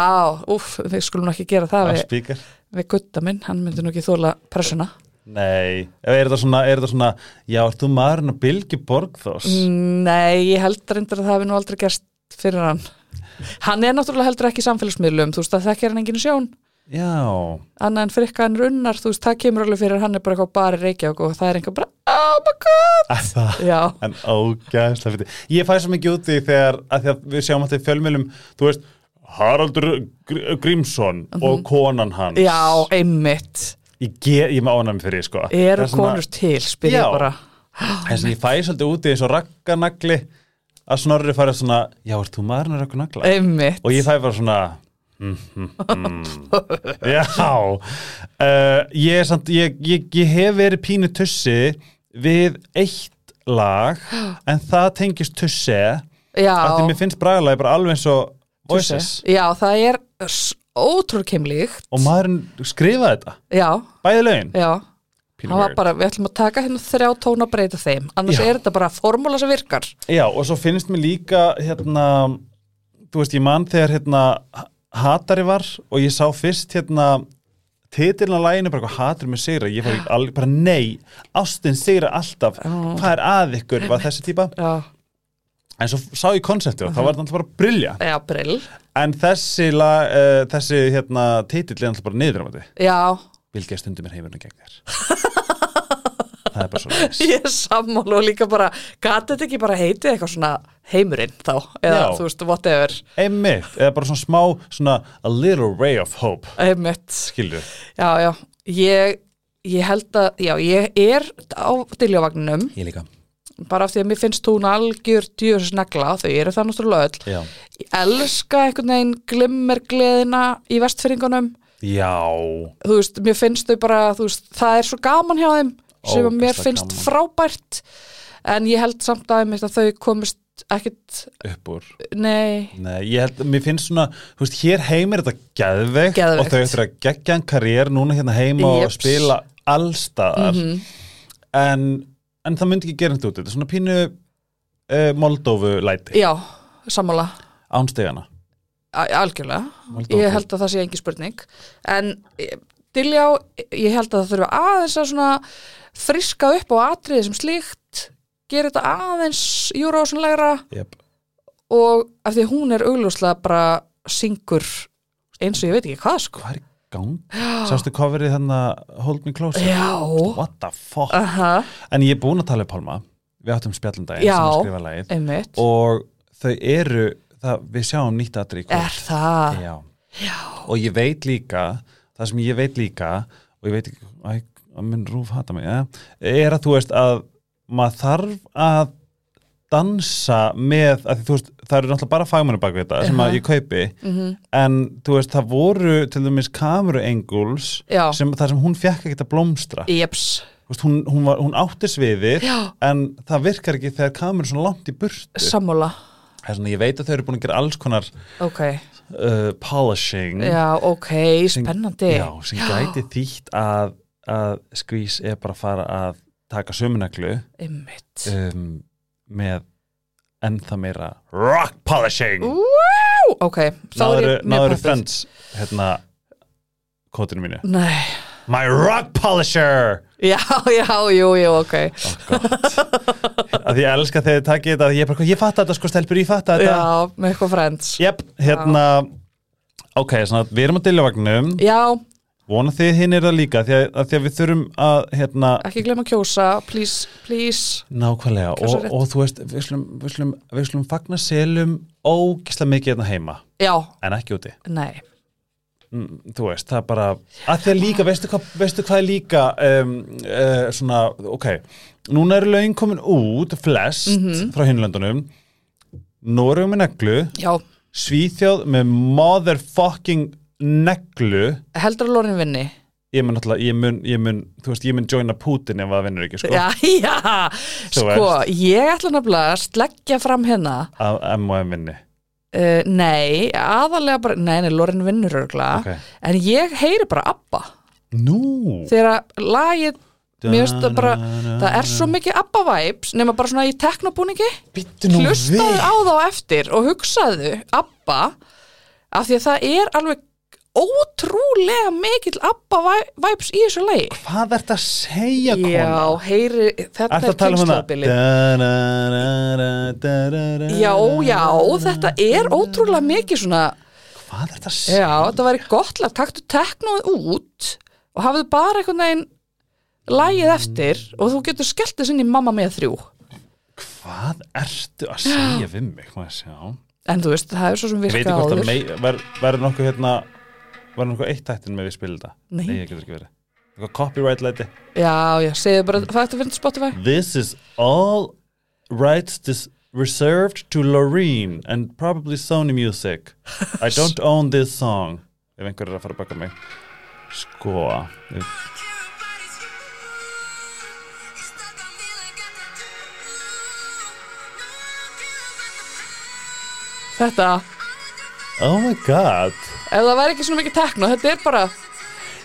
úff, við skulum nú ekki gera
á
það við,
speaker
við gutta minn, hann myndi nú ekki þóla pressuna
Nei, Eða er þetta svona, er þetta svona já, ert þú maðurinn að bylgi borgþós?
Mm. Nei, ég held reyndar að það hafi nú aldrei gerst fyrir hann Hann er náttúrulega heldur ekki í samfélagsmiðlum þú veist að þekkir hann enginn í sjón
Já,
annað en frikka hann runnar, þú veist, það kemur alveg fyrir hann er bara eitthvað bara reykja og það er einhver bara oh my god,
að það
já,
En ógæðslega fyrir Ég fæ svo mikið út í þegar, að því að við sjáum alltaf í fjölmjölum, þú veist Haraldur Gr- Grímsson og konan hans
Mhm. já, einmitt
Ég, ge, ég með ánæmi fyrir, því, sko Það
eru
er svona-
konur til, spyr
Já.
ég bara
þess að ég fæ svolítið úti eins og rakkanagli að snorri fara svona já, ert þú maðurinn að rakkanagla?
einmitt,
og ég fæ bara svona mm, mm, mm. já uh, ég, er samt, ég, ég, ég hef verið pínu tussi við eitt lag en það tengist tussi af því
já
mér finnst bragalagi bara alveg eins og voices
já, það er s- ótrúlega keimlíkt
og maðurinn skrifaði þetta
já,
bæði lögin
já,
Pínu
hann var
weird.
bara við ætlum að taka hérna þrjá tóna og breyta þeim annars
Já.
er þetta bara formúla sem virkar
Já, og svo finnst mér líka hérna, þú veist, ég man þegar hérna hatari var og ég sá fyrst hérna titilin á læginu bara hvað hatur með sigra ég fór alveg bara nei, ástin sigra alltaf hvað er að ykkur, var þessi típa
já,
en svo sá ég konseptið og það var alltaf bara brilja
já, brill
en þessi, la, uh, þessi hérna titilin er alltaf bara niður á þetta
já,
vilja stundum mér heimurinn gegn þér það er bara svo næs
ég er sammála og líka bara gati þetta ekki bara heitið eitthvað svona heimurinn þá, eða
Já.
þú veist, whatever
einmitt, eða bara svona smá svona a little ray of hope
einmitt,
skilju,
já, já ég, ég held að, já, ég er á dyljavagninum,
ég líka
bara af því að mér finnst hún algjör djur snagla, þau eru það náttúrulega öll
Já.
ég elska einhvern veginn glimmergleðina í vestfyrringunum
Já,
þú veist, mér finnst þau bara þú veist, það er svo gaman hjá þeim sem að mér
Ógeðslega
finnst
gaman.
frábært en ég held samt að, einmitt að þau komist ekkit,
upp úr
nei
Nei, ég held, mér finnst svona, þú veist, hér heim er þetta geðveikt
Geðveikt.
og þau eftir að geggja en karriér núna hérna heima og
Jeps.
spila
Mhm.
allstaðar en, en það myndi ekki gera þetta út, þetta er svona pínu uh, Moldófu læti
já, sammála
ánstegana
a- algjörlega,
Moldóvu.
ég held að það sé engin spurning en eh, Diljá, ég held að það þurfa aðeins að svona friska upp á atriði sem slíkt gera þetta aðeins júrósunlegra
yep.
og af því að hún er augljóslega bara syngur eins og ég veit ekki hvað sko
hvað er í gang? sástu coverið hérna Hold Me Closer
já, Ah.
what the fuck
aha,
en ég er búin að tala um Pálma við áttum spjallundaginn
Já.
sem að skrifa lagið
einmitt
og þau eru það, við sjáum nýtt aðri í kvöld.
er það,
Já. og ég veit líka það sem ég veit líka og ég veit ekki, æ, að minn rúf hata mig ja, er að þú veist að maður þarf að dansa með, að því, þú veist, það eru náttúrulega bara fagmennu bak við þetta sem að ég kaupi
Mhm.
-hmm. en þú veist, það voru til dæmis kameru enguls
Já.
sem, þar sem hún fekk ekki að blómstra
jeps
Þú veist, hún, hún, var, hún átti sviðið
Já.
en það virkar ekki þegar kameru er svona langt í burtu
sammála,
Það er svona, ég veit að þau eru búin að gera alls konar
ok
uh, polishing
já, ok, spennandi
Já, sem gæti þýtt að, að skvís er bara að fara að taka sömunaglu
einmitt
um, með ennþá meira rock polishing
Wow, ok, þá er ég mjög
náður
peppuð.
fends hérna kótinu mínu
Nei,
My rock polisher
já, já, jú, jú, ok
oh, að ég elska þegar þið takið þetta ég, er bara, eitthvað, ég fatta þetta sko stelpur, ég fatta þetta
Já, með eitthvað friends
Jep, hérna Ok, svona, við erum á dillavagnum
Já,
Vona þið hinn er það líka Því að, að, því að við þurfum að hérna,
ekki glemma að kjósa Please, please
Nákvæmlega
Kjósa
og,
rétt.
og þú veist, við slum, við slum, við slum fagna selum ógisla mikið hérna heima
Já,
En ekki úti
nei
Mm, Þú veist, það er bara að því að líka, veistu hvað, veistu hvað er líka um, uh, Svona, ok Núna eru lögin komin út Flest
Mhm.
frá hinlöndunum Norugum með neglu
Já,
Svíþjóð með motherfucking neglu
heldur að Lorin vinni
ég mun alltaf, ég mun, ég mun þú veist, ég mun joina Putin ef það vinnur ekki sko,
Já, já,
Þú
sko Ég ætla nefnilega að sleggja fram hérna
að M&M vinni
uh, Nei, aðalega bara Nei, nei, Lorin vinnur örgla
Ok.
En ég heyri bara Abba
Nú
Þegar að lagið Mér finnst það bara, það er svo mikið Abba vibes nema bara svona í teknobúningi
Bittu nú
hlustaðu
við
á þá eftir og hugsaðu Abba af því að það er alveg ótrúlega mikill Abba væ- vibes í þessu lagi
Hvað ert að segja
Já,
kona?
heyri, þetta
Er það
er
að tala um
kynnslóðbili
hana?
Já, já, þetta er ótrúlega mikið svona
Hvað ert að segja?
Já, þetta væri gott lag, taktu teknóið út og hafðu bara einhvern veginn lagið eftir og þú getur skellt þess inn í Mamma með þrjú
Hvað ertu að segja við mig? Má ég sjá
En þú veist, það er svo sem
Ég veit
virka
ekki hvort
áður
að mei- ver- verður nokkuð hérna verður nokkuð eitt tættin með við spilum þetta
Nei.
Nei, ég getur ekki verið Eitthvað copyright læti
Já, já, segðu bara, það ertu að finna Spotify
This is all rights dis- reserved to Loreen and probably Sony Music. I don't own this song. Ef einhver er að fara að baka mig. Sko. ef-
Þetta
Oh my god.
ef það væri ekki svona mikið tekno, þetta er bara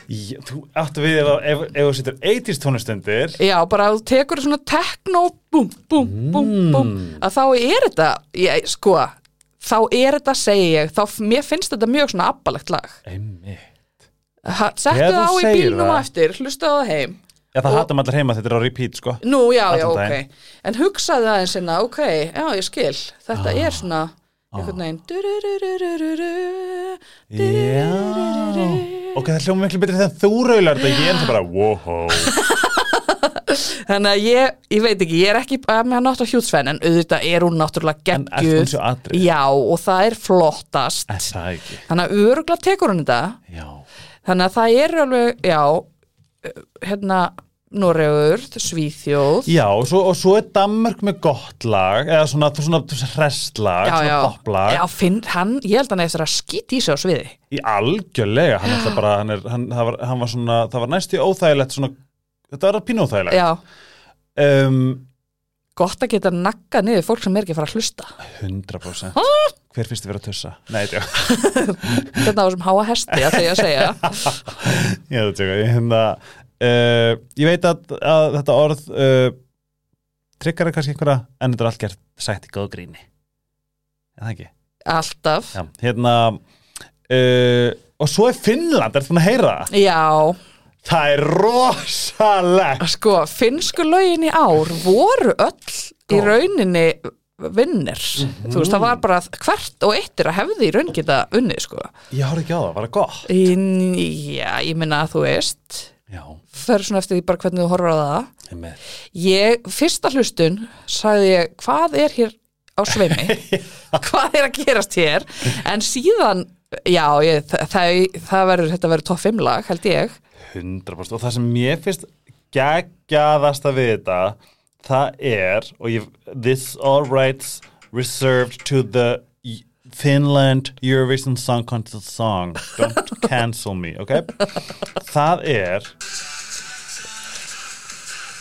Já, þú áttu við ef, ef, ef þú setur 80s tónustundir.
já, bara að þú tekur svona tekno búm, búm, búm, búm að þá er þetta, ég, sko þá er þetta, segi ég þá, mér finnst þetta mjög svona abbalegt lag
Einmi.
ha, settu
Þegar
það á
þú
í
segir
bílnum
það.
á eftir hlustaðu það heim
Já, það
Og-
hattum allir heima þetta er á repeat, sko.
nú, já, já,
Allan daginn.
ok, en hugsaðu aðeins hérna, ok, já, ég skil þetta er svona, einhvern veginn dururururururu,
Já.
durururururu.
Ok, það hljóma miklu betri þegar þú raular þetta. Ég er það bara, wow.
þannig að ég, ég veit ekki, ég er ekki að með hann náttúrulega hjútsfenn, en auðvitað er hún náttúrulega
En ert hún
geggjur,
svo atrið?
já, og það er flottast
Er það ekki?
þannig að öruglega tekur hún þetta
Já.
þannig að það eru alveg, já eh, hérna Noregur, Svíþjóð
Já, og svo, og svo er Danmark með gott lag, eða svona, svona hresslag,
já,
svona poplag.
já finn, hann, ég held hann eftir að skýti í sig á sviði
í algjörlega hann, ætla bara, hann, er, hann, það var, hann var svona það var næst í óþægilegt svona, þetta var pínu óþægilegt
já,
um,
gott að geta naggað niður fólk sem er ekki að fara að hlusta
100% hver finnst þið verið að tussa? Nei, þetta
þetta Hérna á þessum háa hesti að þegar að segja
ég eh, þetta tjóka ég, hérna, uh, ég veit að, að þetta orð uh, triggara eh, kannski einhverja en þetta er allt gert sætt í góðu gríni en það ekki
alltaf
Já, hérna uh, og svo er Finnland, er það að heyra það?
Já,
Það er rosalegt
sko, finnsku lögin í ár voru öll í
Góð. Mhm.
rauninni vinnir þú veist, það var bara hvert og eittir að hefði í raun geta unnið, sko
Ég horfði ekki á það, var það gott?
Ín, Já, ég minna að þú veist
Já,
fer svona eftir því bara hvernig þú horfir á það
einmitt
Ég, fyrsta hlustun sagði ég, hvað er hér á sveimi? hvað er að gerast hér? En síðan, já, ég, það, það, það verður, þetta verður topp 5 lag, held ég.
100% og það sem mér finnst geggjaðasta við þetta það er og ég, this all rights reserved to the Finland Eurovision Song Contest song don't cancel me, ok það er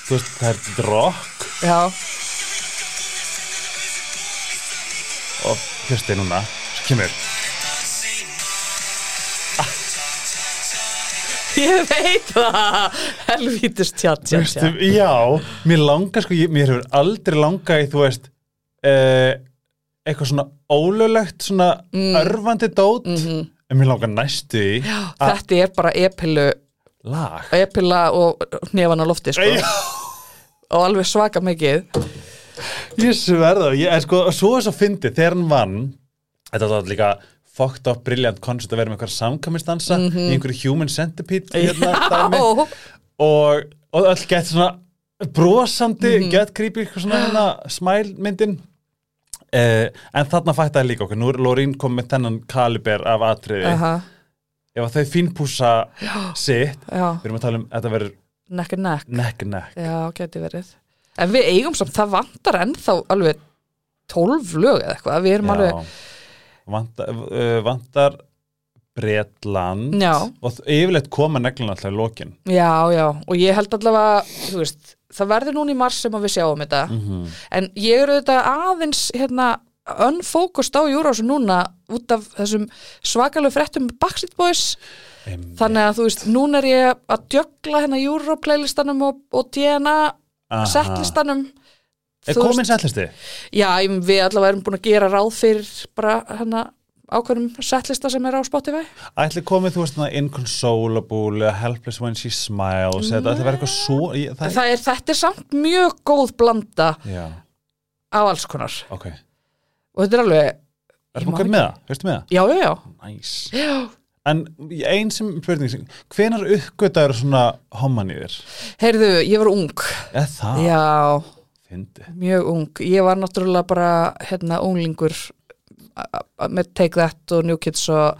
þú veist, það er drokk
Já,
og hlustið núna, svo kemur
ég veit það, helvítis tjátt, tjátt,
Veistu,
tjátt.
já, mér langar sko, ég, mér hefur aldrei langað í, þú veist, uh, eitthvað svona ólulegt, svona örfandi dót, en mér langar næstu í að
Þetta er bara epilu,
lag.
epila og nefan á lofti, sko,
Já,
og alveg svaka mikið.
ég sverða, ég, en sko, svo er svo fyndið, þegar hann vann, þetta var líka fucked up brilliant concert að vera með eitthvað samkvæmistansa í einhverju human centipede hérna, dæmi.
Já,
og, og öll gett svona brosandi,
Mhm.
gett creepy eitthvað svona hérna, smælmyndin uh, en þarna fættaði líka okkur nú er Lorín komið með þennan kaliber af atriði,
aha,
ef að þau fínpúsa sitt,
já,
við erum að tala um að þetta verður
nekk er nekk.
nekk-nekk
Já, geti verið En við eigum samt, það vantar ennþá alveg 12 lög eða eitthvað Við erum alveg,
vantar, uh, vantar Bretland
Já.
og þ- yfirleitt koma neglun alltaf í lokin
já, já Og ég held allavega, þú veist Það verður núna í mars sem að við sjáum þetta En ég er auðvitað aðeins hérna, unfókust á Júrásu núna út af þessum svakalegu fréttum með Backstreet Boys
Einmitt.
Þannig að þú veist, núna er ég að djögla hérna Júró playlistanum og, og DNA
Aha.
setlistanum
er
Þú
komin
veist-
sætlisti?
Já, ég- við allavega erum búin að gera ráð fyrir bara hérna ákveðnum setlista sem er á Spotify.
Ætli komið, þú veist, svona inconsolable eða helpless when she smiles eða þetta verður eitthvað svo ég, það,
Það er, þetta er samt mjög góð blanda
Já,
af alls konar
ok
og þetta er alveg,
Er það
Ég man
komið með það? Veistu með það?
já, já, já,
Næs
já.
En ein sem spurning sem, hvenar uppgötaður svona homman í þér?
Heyrðu, ég var ung,
Eða það?
já,
Fyndi
mjög ung. Ég var náttúrulega bara, hérna, unglingur a- a- með Take That og New Kids og,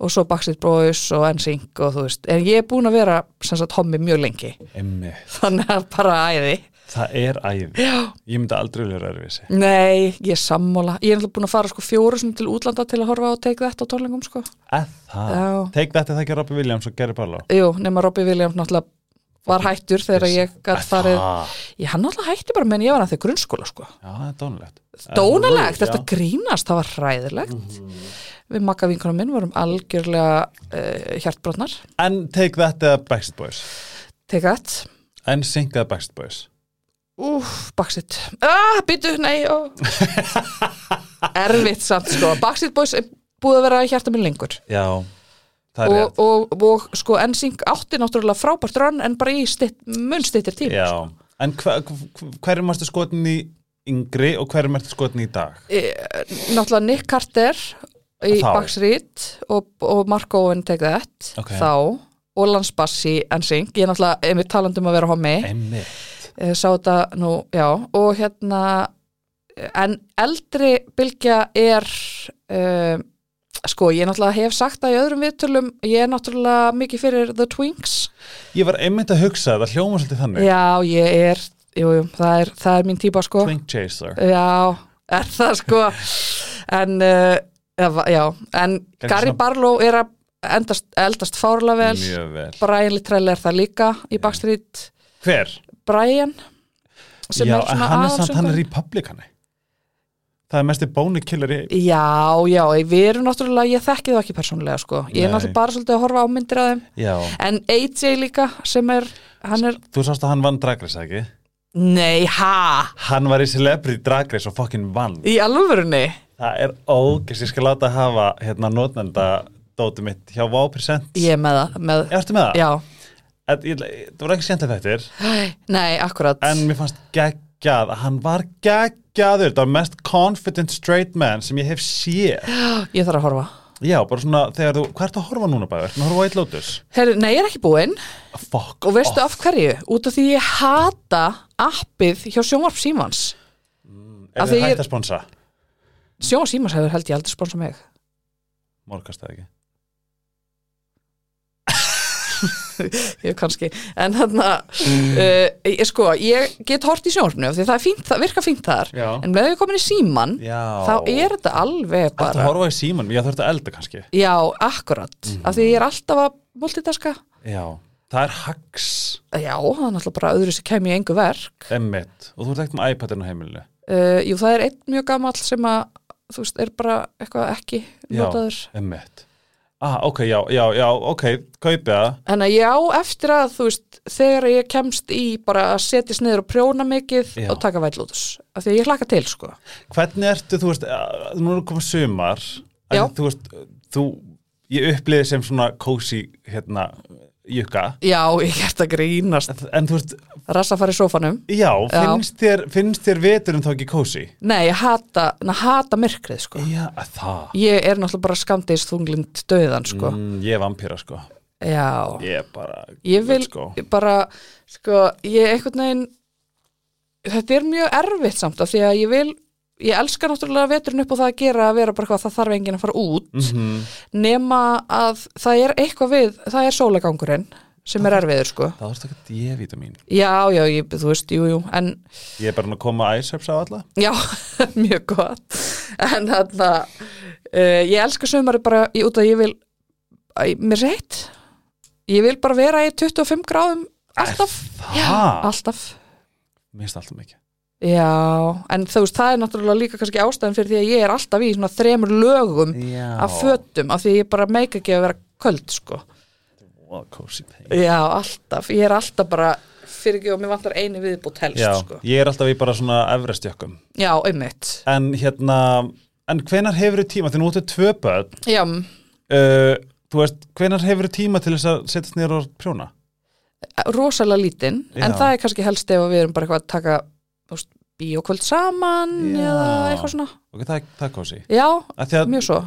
og svo Backstreet Boys og NSYNC og þú veist. En ég er búin að vera, sem sagt, hommi mjög lengi.
Emmi,
Þannig að bara æði.
það er æði Já Ég myndi aldrei vilja vera öðruvísi
Nei, ég er sammála. Ég er náttúrulega búin að fara sko fjóru sem til útlanda til að horfa á Take That á tónlingum sko.
Eða það?
Já.
Take that eða ekki Robby Williams og Gary Barlow
Jú, nema Robbie Williams náttúrulega var hættur þegar ég gætt farið.
Það
Ég hann náttúrulega hætti bara meðan ég var að þau grunnskóla sko.
Já, það er dónulegt
Dónalegt,
Já.
þetta
Mhm.
grínast, það var hræðilegt. Við makka vinkunum minn vorum algjörlega uh, hjartbrotnar.
En take that eða Backstreet Boys
Take That.
En sync eða Backstreet Boys
Úf, Baxit. Ah, býtu, nei, ó. Erfitt samt sko. Baxit Boys er búið að vera í hjarta minn lengur.
Já, það er
og,
rétt
og, og sko NSYNC átti náttúrulega frábært rönn en bara í stitt, munstittir tíma
Já, en hver, hver, hverjum ertu skotin í yngri og hverjum ertu skotin í dag?
e, náttúrulega Nick Carter í
Þá.
Backstreet og, og Mark Owen Take That
Ok.
þá og Lance Bass í NSYNC ég er náttúrulega einmitt talandi um að vera homi
Emmi
e, sá þetta nú, já og hérna en eldri bylgja er e, sko ég náttúrulega hef sagt það í öðrum viðtölum ég er náttúrulega mikið fyrir The Twinks
Ég var einmitt að hugsa þetta, hljóma svolítið þannig
Já, ég er, jú, jú, það er, það er mín típa sko.
Twink Chaser
Já, er það sko. En, uh, eða, já, en
Kannski
Gary
svona-
Barlow er að endast, eldast fárlega vel.
Mjög vel
Brian Littrell er það líka í Backstreet.
Hver?
Brian, sem
Já,
er
en
svona um
hann er samt, hann er
aðalsöngur.
republikani Það er mesti bóni killer í
Já, já, við erum náttúrulega, ég þekki það ekki persónulega sko. Ég er
Nei.
náttúrulega bara svolítið að horfa á myndir af þeim.
Já
En AJ líka, sem er, hann er,
Þú sást að hann vann dragris, ekki?
Nei, ha?
Hann var í Celebrity Drag Race og fucking vann
Í alvörunni?
Það er ógæst, ég skal láta hafa hérna notnenda dótið mitt hjá Wow Present
Ég er með það. Með,
Ertu með það?
Já.
En ég ætla- ég- Það var ekki skemmtilegt eftir
Æ, Nei, akkurat.
en mér fannst geggjað að hann var geggjaður, það var mest confident straight man sem ég hef séð
Ég þarf að horfa.
Já, bara svona þegar þú, hvað ertu að horfa núna bæður? Þú horfa á eitt lótus?
Her, nei, ég er ekki búinn.
Fuck
Og veistu
off.
af hverju? Út af því ég hata appið hjá Sjónvarp Símans.
Er
af
þið
því ég-
hægt að sponsa?
Sjónvarp Símans hefur held ég aldrei sponsa mig.
Morgast það ekki
Ég kannski. En þarna,
Mm.
uh, ég, sko, ég get hort í sjónvarpinu af því það, er fínt, það virkar fínt þar.
Já.
En með því ég komin í síman,
Já
þá er þetta alveg
Ertu að
bara...
horfa Mm. í símanum, ég þurfti að elda kannski
Já, akkurat. Af því ég er alltaf að multitaska.
Já, það er hags
Já, það er náttúrulega bara öðru sem kem ég engu verk.
Emmitt, og þú ert ekkert með iPadin á heimilinu
Uh, jú, það er einn mjög gamall sem að, þú veist, er bara eitthvað ekki notaður.
Já, emmitt Ah, ok, já, já, já, ok, kaupið það
En að já, eftir að, þú veist, þegar ég kemst í bara að setjast niður og prjóna mikið
Já.
og taka vællótus. Af því að ég hlaka til, sko.
Hvernig ertu, þú veist, að- nú er komið sumar en
Já.
Þú veist, þú, ég upplýði sem svona cozy, hérna, jukka
Já, ég ert að grínast.
En þú veist,
Rassa fara í sófanum.
já,
Já.
finnst þér, finnst þér veturinn þá ekki cozy?
Nei, ég hata, na, hata myrkrið, sko.
Já, það
Ég er náttúrulega bara skamdegist þunglind döðan, sko.
mm, Ég er vampíra, sko
Já.
Ég er bara,
ég vil
let's go.
bara, sko, ég einhvern veginn þetta er mjög erfitt samt af því að ég vil ég elska náttúrulega veturinn upp á það að gera að vera bara hvað það þarf enginn að fara út
Mm. Mhm.
nema að það er eitthvað við, það er sólagangurinn sem er erfiður sko
Það þarfst ekki að D-vitamin
já, já, ég, þú veist, jú, jú, en
Ég er bara að koma æsöps á alla
já, mjög gott en þarna uh, ég elska sömari bara í, út að ég vil æ, mér er heitt ég vil bara vera í 25 gráðum alltaf,
Það,
alltaf
mér finnst alltaf mikið
Já, en þú veist, það er náttúrulega líka kannski ástæðan fyrir því að ég er alltaf í svona þremur lögum
Já
af fötum af því að ég bara meika ekki að vera köld, sko.
Wow, cozy pain
Já, alltaf. Ég er alltaf bara fyrir ekki og mér vantar einu viðbútt helst,
Já,
sko.
ég er alltaf í bara svona efrestjökkum
Já, einmitt.
En hérna, en hvenar hefur þú tíma? Þegar nú áttu tvö börn
Já,
uh, Þú veist, hvenar hefur þú tíma til þess að setjast niður og prjóna?
rosalega lítinn, en
Já.
það er kannski helst ef við erum bara eitthvað að taka, þú veist, bíókvöld saman
Já.
eða eitthvað svona.
Ok, það, það er cozy
Já,
Af því að
mjög svo.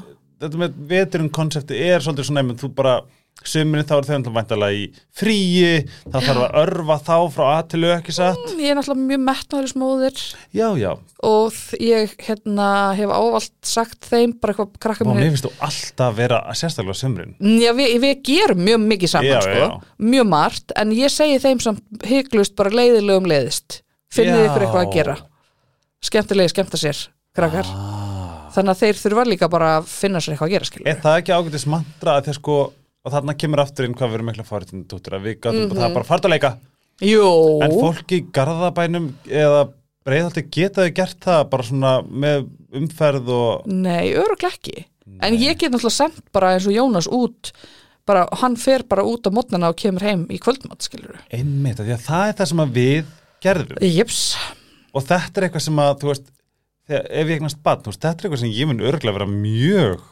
Þetta með veturinn konsepti er svolítið svona einmitt, þú bara Sumurinn þá er þau alltaf væntalega í fríi, þá þarf að örfa þá frá að til au, ekki satt?
Ég er náttúrulega mjög metnaðurismóðir
Já, já,
og þ- ég hérna hef ávalt sagt þeim bara eitthvað krakka
og
minni
mér finnst þú alltaf vera sérstaklega á sumrin.
Já, við, við gerum mjög mikið saman,
Já,
sko,
já.
mjög margt, en ég segi þeim samt hygglust bara leiðilegum leiðist. Finnið
Já.
ykkur eitthvað að gera. Skemmtilegi skemmta sér, krakkar.
Ah.
Þannig að þeir þurfa líka bara að finna sér eitthvað að gera, skilur.
Er það ekki ágætis mantra að því að sko og þarna kemur aftur inn hvað við erum mikla fáritin dúttur að við gætum mm það bara fært að leika
Jú,
en fólk í garðabænum eða breyðaldi getaði gert það bara svona með umferð og
nei, öruglega ekki. En ég get náttúrulega sendt bara eins og Jónas út, bara, hann fer bara út á mótnana og kemur heim í kvöldmátt, skilur.
einmitt af því að það er það sem að við gerðum
Jeps,
og þetta er eitthvað sem að þú veist þegar, ef ég eignast badn, veist, þetta er eitthvað sem ég mun örgulega vera mjög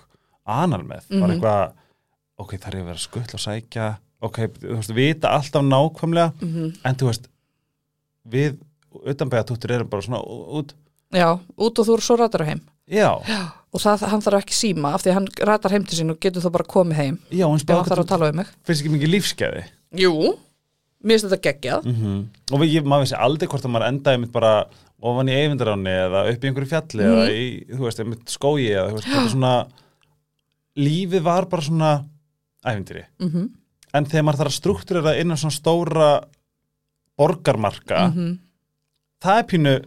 anal með
Mhm.
bara eitthvað, ok, þarf ég að vera skull og sækja, ok, þú veist vita alltaf nákvæmlega,
Mhm.
en þú veist við utanbæða túttur erum bara svona ú- út
já, út og þú eru svo rættur heim.
já,
Og það, hann þarf ekki síma, af því að hann rætar heim til sín og getur þá bara komið heim.
já, en
Já, það
spáður
þarf að tala um mig.
finnst ekki mikið lífskeiði
Jú, mér finnst þetta geggjað.
og við, ég, maður vissi aldrei hvort að maður endaði mitt bara ofan í eifindaráni eða upp í einhverju fjalli eða
Mhm.
í, þú veist, einmitt skói eða þú veist, þetta er svona lífið var bara svona æfintýri
Mm -hmm.
en þegar maður þarf að struktúrera innan svona stóra borgarmarka
Mhm.
það er pínu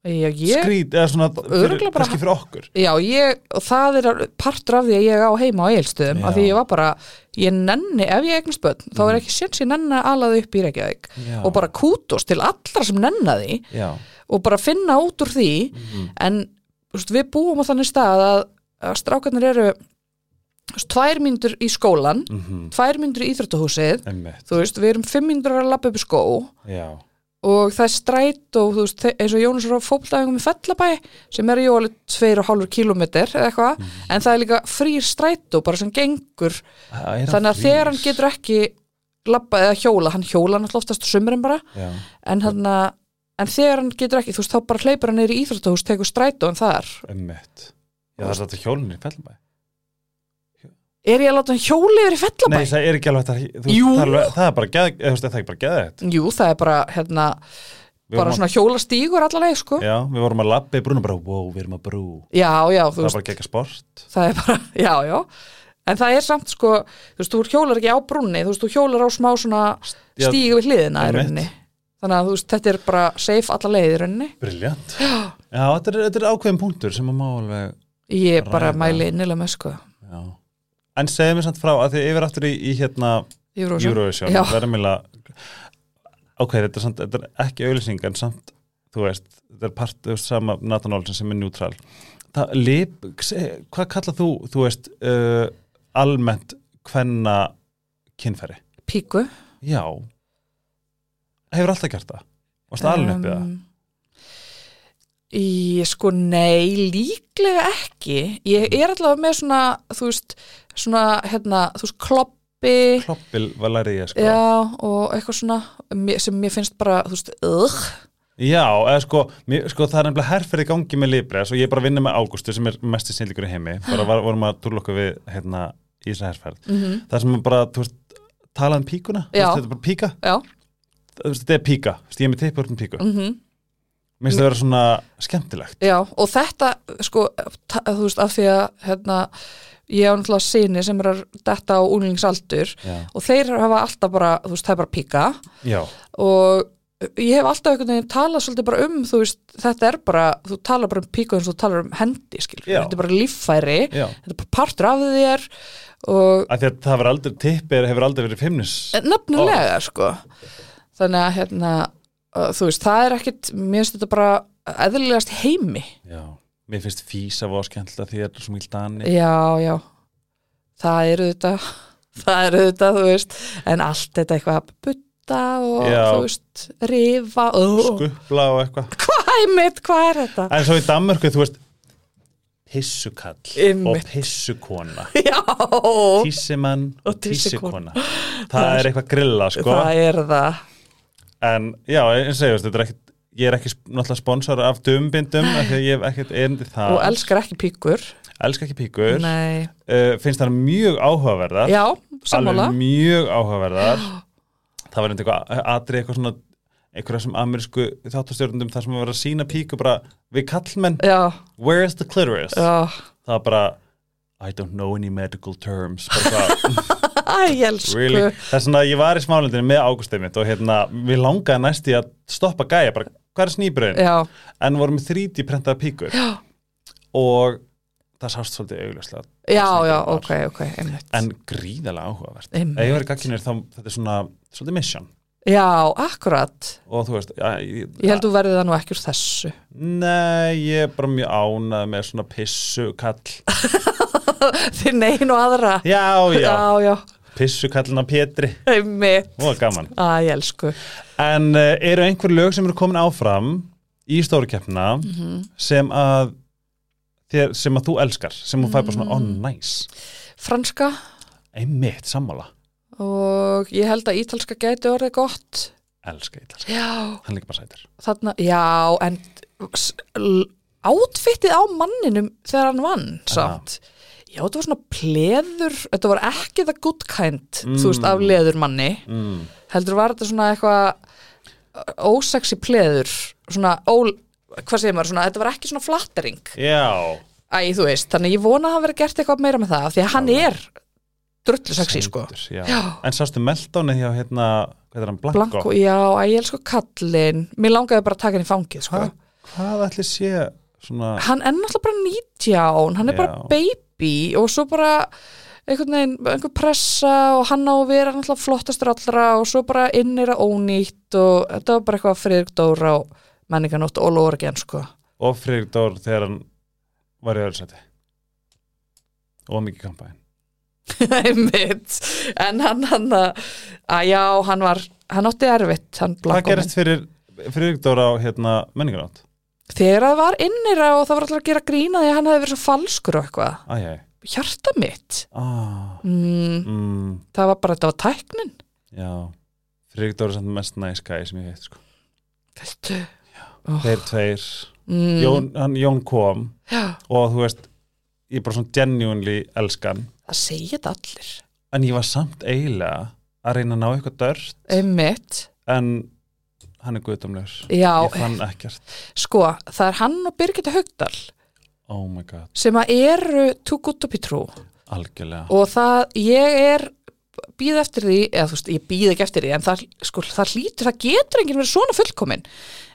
Já, ég,
skrít eða svona fyrir,
Örugglega bara-
kannski fyrir okkur
já, ég, og það er al- partur af því að ég á heima á eilstöðum,
Já.
af því ég var bara, ég nenni, ef ég eignast börn, þá er ekki séns ég nenni að alaði upp í Reykjavík.
já,
Og bara kútos til allra sem nenni því
já,
og bara finna út úr því, en þú veist, við búum á þannig stað að, að strákarnir eru þú veist, tvær myndur í skólan,
mhm,
tvær myndur í íþróttahúsið,
einmitt
þú veist, við erum fimm myndur að lappa upp í skó
já,
og það er stræt og þú veist, þe- eins og Jónus er á fótboltæfingum í Fellabæ sem er jú alveg 2,5 km eða eitthvað, en það er líka frýr strætó bara sem gengur
Það Mhm. er
þannig að
frýr.
þegar hann getur ekki labba eða hjóla, hann hjóla náttúrulega oftast á sumurinn bara,
Já.
en hann en þegar hann getur ekki, þú veist, þá bara hleypur hann neyri í Íþróttahús, tekur strætó en þar
Ömmett. Já, það er þetta hjólunni í Fellabæ.
er ég að láta hann hjóla yfir í Fellabæ?
Nei, það er ekki alveg þetta. þú veist,
Jú.
Það er, alveg- það er bara geð, eða, þú veist, það er ekki bara geðið.
Jú, það er bara, hérna, bara svona hjólastígur allaleg, sko.
Já, við vorum að labba í brúna bara, wow, við erum að brú.
Já, já, þú
Það
veist,
er bara gegga sport.
það er bara, já, já. En það er samt, sko, þú veist, þú hjólar ekki á brúnni, þú veist, þú hjólar á smá svona
Já,
stígu við hliðina í
einmitt.
rauninni. Þannig að, þú veist, þetta er bara safe alla leið í rauninni.
Briljant. Já. þetta er, þetta er ákveðin punktur sem að má alveg,
Ég bara
Ræða.
mæli innilega með, sko.
já. En segðu mér samt frá að þið yfir aftur í, í hérna
Eurovision.
Eurovision,
Já.
verðumila, ok, þetta er, samt, þetta er ekki auðlýsing en samt, þú veist, þetta er part, þú veist, sama Nathan Olsen sem er neutral. Það, lip, se- hvað kallað þú, þú veist, uh, almennt hvenna kynfæri?
Píku.
Já. Hefur alltaf gert það? Varst alveg uppið það?
Um, Í, sko, nei, líklega ekki. Ég er allavega með svona, þú veist, svona, hérna, þú veist, kloppi,
Kloppil var lærið ég, sko.
já, og eitthvað svona mér- sem mér finnst bara, þú veist, ögh,
Já, eða sko, mér, sko það er nefnilega herferði í gangi með Libres og ég er bara að vinna með Ágústu sem er mesti snillíkur í heimi bara var, vorum að túrla okkur við hérna, í þessa herferð
Mhm.
það sem er bara, þú veist, talað um píkuna þú
Já.
veist, þetta er bara píka,
já,
þú veist, þetta er píka þú veist, ég er með tippur um píku mm.
mhm,
minnst það vera svona skemmtilegt
já, og þetta, sko, ta- þú veist, af því að, hérna, ég á náttúrulega sinni sem er að detta á unglingsaldur
Já,
og þeir hafa alltaf bara, þú veist, það er bara píka
já,
og ég hef alltaf einhvern veginn talað svolítið bara um, þú veist, þetta er bara þú talar bara um píku eins og þú talar um hendi skilur,
Já.
þetta er bara líffæri
já.
þetta er bara partur af þér og eh,
Af því Að það hefur aldrei, tippir hefur aldrei verið feimnis
nefnilega sko þannig að hérna uh, þú veist, það er ekkit, mér finnst þetta bara eðlilegast heimi,
Já, mér finnst físa var skemmtilega því þetta er svo mjög dani
já, já það eru þetta það eru þetta, þú veist, en allt þetta eitthvað að butta og
Já. Sko.
þú veist, rifa og
skupla og eitthvað
hæmið, hvað er þetta?
En svo í Danmörku, þú veist pissukall
Einmitt.
og pissukona
Já,
tísimann og
Og tísikona.
tísikona það er eitthvað grilla sko
það er það
en já, eins og ég veist, þetta er ekkit ég er ekki sp- náttúrulega sponsor af dumbindum af því að ég hef ekkert erindi það
og elskar ekki píkur
elska ekki píkur uh,
Nei,
finnst það mjög áhugaverðar
já, sammála
alveg mjög áhugaverðar það var einhver eitthvað atrið eitthvað svona einhverja sem amerísku þáttastjórnundum þar sem var að sína píku bara við kallmenn,
Já,
where is the clitoris
já,
það var bara I don't know any medical terms bara hvað
æ, ég elsku
really? það er svona að ég var í smálendinu með águstið mitt og hérna, við langaði næst í að stoppa gæja, bara hvað er snýbröðin
Já,
en vorum með 3D prentaða píkur
já, og,
og það sást svolítið augljóslega sem
já, já,
þetta var.
ok, ok, einmitt
en gríðalega áhugavert
Einmitt.
ef ég verið gagginir þá, þetta er svona svolítið mission
Já, akkurat
og þú veist, ja, ég,
Ég held þú verðið það nú ekki úr þessu
nei, ég er bara mjög ánað með svona pissukall
Þið negin og aðra
já, já,
já, já,
pissukallin á Pétri
einmitt
og gaman
Æ, ég elsku
En uh, eru einhver lög sem eru komin áfram í stórukeppna sem að þér, sem að þú elskar, sem þú fær bara svona oh
Mm.
nice,
Franska
einmitt sammála
og ég held að ítalska gæti orðið gott
elska, elska,
Já,
hann líka bara sætir
þarna, já, en s- l- átfittið á manninum þegar hann vann, samt já, þetta var svona pleður þetta var ekki það good kind
Mm.
þú veist, af leður manni
mm.
heldur var þetta svona eitthvað ósexy pleður svona ól, hvað segir maður, svona þetta var ekki svona flattering,
Já,
æ, þú veist þannig ég vona að hafa verið gert eitthvað meira með það af því að hann er drullu sexy, sko
sætur, já.
Já.
En sástu meldáni hjá hérna, hvað er hann, Blanko,
Blanko, já, æ, ég elsku kallinn mér langaði bara að taka hann í fangið, sko
Hva, Hvað ætli sé svona
hann er náttúrulega bara 19 hann er bara
Já.
baby og svo bara einhvern veginn, einhver pressa og hann á að vera náttúrulega flottastur allra og svo bara inn er að ónýtt og þetta var bara eitthvað friðrik dóra og menninganótt all over again sko
og Friðrik Dór þegar hann var í öðru sæti og mikið kampæn
Einmitt. en hann hann að að já, hann var, hann átti erfitt hann
Hvað
Blanko minn.
gerist fyrir Friðrikdóra á hérna, menningarátt
Þegar það var innir og það var alltaf að gera grína því að hann hefði verið svo falskur og eitthvað.
Æjæ
Hjarta mitt.
ah,
Mm,
mm,
það var bara, þetta var tæknin.
Já Friðrikdóra er samt mest næs gæði sem ég heit sko.
Oh. Veistu?
Þeir tveir
Mm,
Jón, hann, Jón kom
Já,
og þú veist ég bara svona genuinely elskan
það segja þetta allir.
en ég var samt eiginlega að reyna að ná eitthvað dörst
Einmitt.
en hann er guðdómlegur
Já,
ég fann ekkert
sko, það er hann og Birgitta Haugdal
oh my god,
sem að eru too good to be true
algjörlega
og það, ég er býð eftir því, eða þú veist, ég býð ekki eftir því en það, sko, það hlýtur, það getur enginn verið svona fullkomin,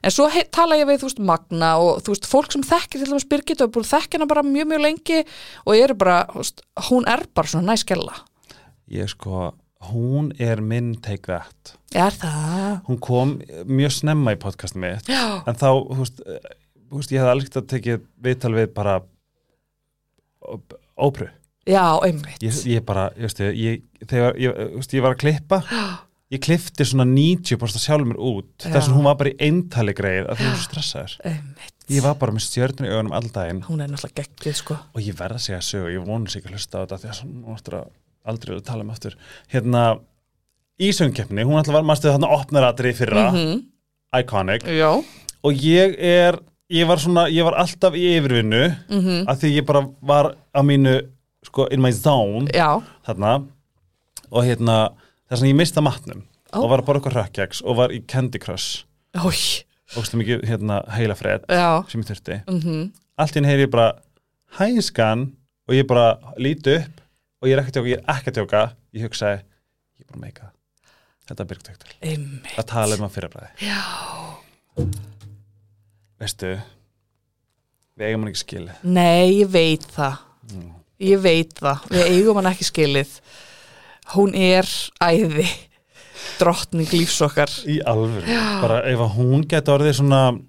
en svo he, tala ég við, þú veist, Magna og þú veist, fólk sem þekkir til dæmis Birgit og er búin að þekkja hana bara mjög, mjög lengi og eru bara, þú veist, hún er bara svona næskella.
ég sko, hún er minn take that
Er það?
hún kom mjög snemma í podcastum mitt
Já.
en þá, þú veist, eh, þú veist ég hefði alveg að tekið viðtal við bara ó- ópru
Já, einmitt.
ég, ég bara, ég veist, ég, þegar ég, þú veist, ég var að klippa ég klifti svona 90% sjálf mér út
Já.
þess að hún var bara í eintali greið að því hún var svo stressaður
Einmitt.
ég var bara með stjörnum í augunum alldægin
Hún er náttúrulega geggið, sko.
og ég verð að segja sögu, ég vonu sig ekki að hlusta á þetta því að svona nú áttur að aldrei að tala um aftur hérna, í söngkeppni hún alltaf var maður stuð þarna opnaratri í fyrra
Mhm.
iconic,
Já.
og ég er ég var svona, ég var alltaf í yfirvinnu
Mm
að því ég bara var á mínu, sko, in my zone
Já.
þarna og hérna, þess að ég mista matnum
Ó.
og var bara okkur rökkjags og var í Candy Crush
Új.
og slum ekki hérna heila fred
Já.
sem ég þurfti
Mm
allt í henni heyri ég bara hæskan og ég bara líti upp og ég er ekki að tjóka, ég er ekki að tjóka ég hugsaði, ég er bara að meika það. þetta er byrgtöktur,
Einmitt.
að tala um að fyrirbræði
Já.
veistu við eigum hann ekki skilið
Nei, ég veit það. Ég veit það. Við eigum hann ekki skilið. Hún er æði. Drottning lífs okkar.
í alvöru, bara ef að hún getur orðið svona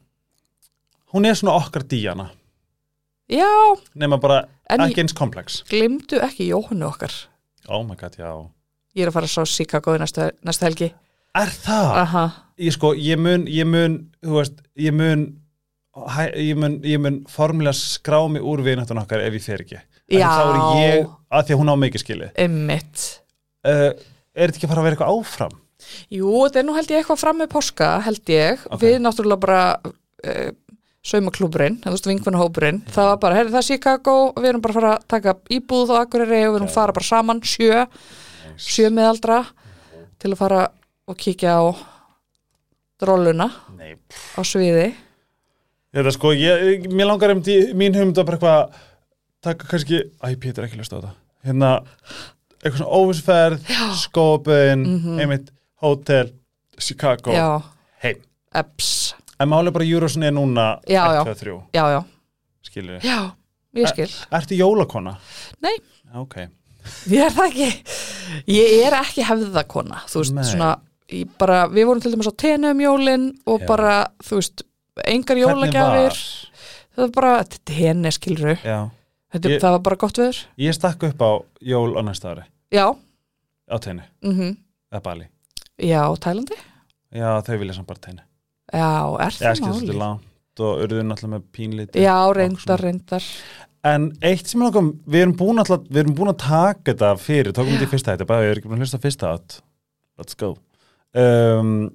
hún er svona okkar díjana
Já,
nema bara
En ég-
ekki eins komplex
glimdu ekki Jóhannu okkar.
oh my god, já
Ég er að fara að sá Chicago í næsta, næsta helgi.
Er það?
Aha.
Ég sko, ég mun, ég mun, þú veist, ég mun, hæ, ég mun, ég mun formulega skrá mig úr vinatun okkar ef ég fer ekki. Af því
Já.
Þá er ég, að því að hún á mikið skilið.
Einmitt.
Uh, er þetta ekki að fara að vera eitthvað áfram?
Jú, þetta er nú held ég eitthvað fram með poska, held ég.
Ok.
Við náttúrulega bara uh, saumaklúburinn, eða þú veist vingunahópurinn. Það var bara, herri, það er Chicago, við erum bara að fara að taka íbúð og akkurri og við erum að fara bara saman sjö, sjö meðaldra til að fara og kíkja á drolluna
Nei.
á sviði.
Þetta sko, ég, mér langar um því, mín hugmynd að bara eitthvað, taka kannski, æ, Pétur er ekki löst á þetta. Hérna, eitthvað svona óvisferð, skópun, einmitt, hótel, Chicago,
Mhm. Já,
heim.
eps.
En máli bara Júrósson er núna,
Já,
1,
já.
2, 3,
Já, já,
skilur við.
já, ég skil.
Ertu jólakona?
Nei.
Ok.
Ég er það ekki Ég er ekki hefðakona Þú veist,
Nei.
svona ég bara, Við vorum til dæmis á tenu um jólin og
Já.
bara, þú veist, engar jólagjafir Það var bara, þetta er tene skilru
Já.
þetta,
Ég-
Það var bara gott veður
Ég stakk upp á jól á næsta ári
Já,
á teinu,
mm
eða Bali.
já, Tælandi
Já, þau vilja samt bara teinu.
Já, er
Ég
það
skil svolítið
máli
langt og urðu náttúrulega með pínlítið.
Já,
svona.
reyndar, reyndar
En eitt sem er okkur, við erum búin alltaf, við erum búin að taka þetta fyrir, tókum
Já.
þetta í fyrsta hættu, bara við erum ekki búin að hlusta á fyrsta átt. Let's go. Um,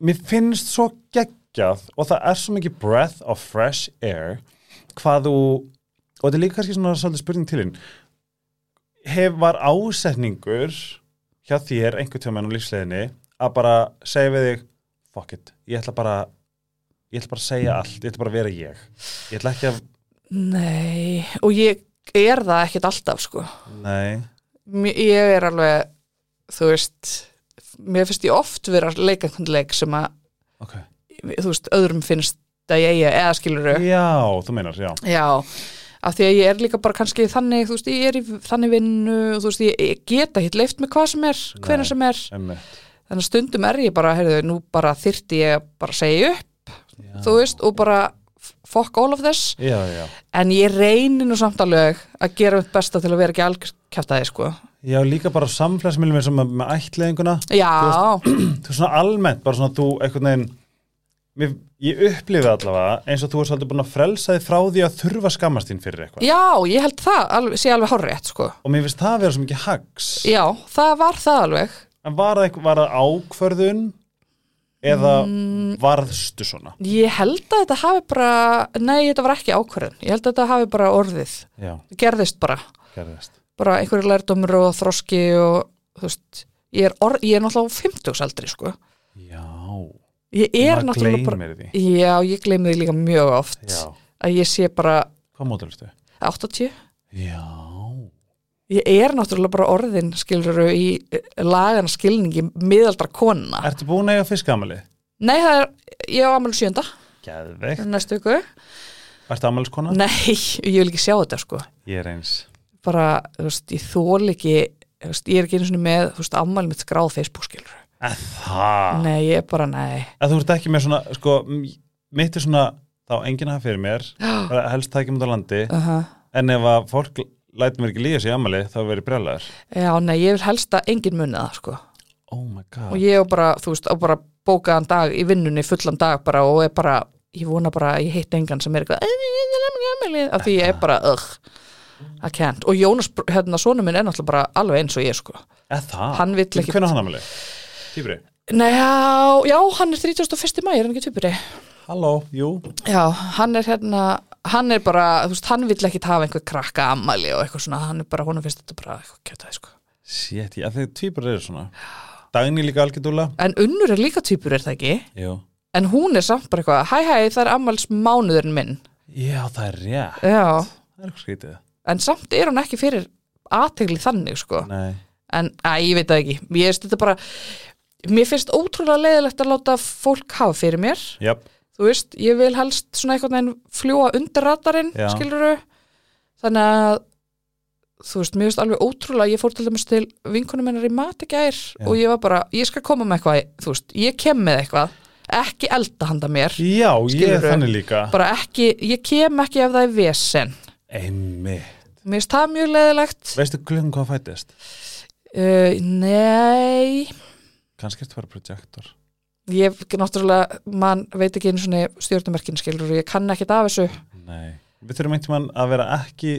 mér finnst svo geggjað og það er svo mikið breath of fresh air hvað þú, og þetta er líka kannski svona svolítið spurning til hinn, hef var ásetningur hjá þér einhvern tjóman á lífsleðinni að bara segja við þig, fuck it, ég ætla bara, ég ætla bara að segja allt, ég ætla bara að vera ég. Ég ætla ekki að,
Nei, og ég er það ekkert alltaf, sko
nei.
Mér- Ég er alveg, þú veist Mér finnst ég oft vera að leika einhvern leik sem að
Okay.
þú veist, öðrum finnst að ég eigi eða skilur
Já, þú meinar, já.
já, af því að ég er líka bara kannski þannig, þú veist, ég er í þannig vinnu og þú veist, ég, ég geta hitt leift með hvað sem er, hvenær
Nei.
sem er
Einmitt.
þannig að stundum er ég bara, heyrðu, nú bara þyrti ég að bara segja upp,
Já.
þú veist, og bara f- fuck all of this,
Já, já.
en ég reynir nú samt alveg að gera mitt besta til að vera ekki algjörkjæftæði, sko
Já, líka bara samfélagsmiljum eins og með, með ættleðinguna.
já,
Þú er svona almennt, bara svona þú einhvern veginn mér, ég upplifi allavega eins og þú er svolítið búin að frelsa þig frá því að þurfa að skammast þín fyrir eitthvað
já, ég held það alveg, sé alveg horrétt sko.
og mér finnst það að vera svo mikið hags
já, það var það alveg
en var það, eitthvað- var það ákvörðun eða
Mm.
varðstu svona
ég held að þetta hafi bara nei, þetta var ekki ákvörðun, ég held að þetta hafi bara orðið,
já,
það gerðist bara
gerðist
bara einhverju lærdómur og þroski og þú veist, ég er, orð, ég er náttúrulega á 50 aldri sko,
já,
ég er
maður
náttúrulega bara
gleymir því
já, ég gleymi því líka mjög oft
já,
að ég sé bara
hvað mótilstu?
80
já,
ég er náttúrulega bara orðin skiluru í lagana skilningi miðaldra kona
ertu búin að eiga fiskamali?
nei það er, ég á amal sjönda
geðveikt,
næstu ykkur,
ertu amaliskona?
nei ég vil ekki sjá þetta sko
ég er eins
bara, þú veist, ég þól ekki þú veist, ég er ekki einu svona með, þú veist, ammæli mitt skráð á Facebook skiluru,
að það
nei ég er bara, nei
að þú ert ekki með svona sko, m- mitt er svona þá enginn að hafa fyrir mér bara helst tækjum út á landi
uh
en ef að fólk lætur mér ekki líða sér í amali þá verður ég brjálæður
já, nei, ég vil helst að engin munið það sko
oh my
og
god
ég er bara, þú veist, á bara bókaðan dag í vinnunni, fullan dag bara og er bara, ég vona bara, að ég hitt engan sem er eitthvað, "Æ, ég er ekki afmælið", af því ég er bara, ugh I can't, og Jónas, br- hérna, sonu minn er náttúrulega bara alveg eins og ég, sko
að það
Hann vill ekki-
hvernig hann amali? tífri
Nei, já, já, hann er 31. mæ, er hann ekki tupuri?
halló jú
Já, hann er hérna, hann er bara, þú veist, hann vill ekki hafa einhver krakka ammæli og eitthvað svona, hann er bara, honum finnst þetta bara eitthvað kjötaði, sko
shit ég að þegar tífur eru svona dagni líka algjörðúla
En unnur er líka tupur, er það ekki?
jú
En hún er samt bara eitthvað, hæ, hæ, það er ammæls minn
já það er rétt
Já,
það er eitthvað skrítið
en samt er hún ekki fyrir aðtegli þannig sko
nei
en að, ég veit það ekki, ég veist þetta bara mér finnst ótrúlega leiðilegt að láta fólk hafa fyrir mér
jöp
þú veist, ég vil helst svona eitthvað neginn fljúa undir radarinn,
Já.
skilurðu þannig að þú veist, mér finnst alveg ótrúlega ég fór til dæmis til vinkunum hennar í mat í gær
Já.
og ég var bara, ég skal koma með eitthvað þú veist, ég kem með eitthvað ekki elda handa mér,
já ég er
Skilurðu?
þannig líka
bara ekki ég kem ekki ef það er vesen
einmi
mér finnst það mjög leiðilegt
veistu klukkan hvað fættist?
Uh, nei,
kannski ertu bara projektor
ég náttúrulega, mann veit ekki einu svona stjórnumerkin skilur, ég kann ekkert af þessu.
Nei. Við þurfum einhvern veginn að vera ekki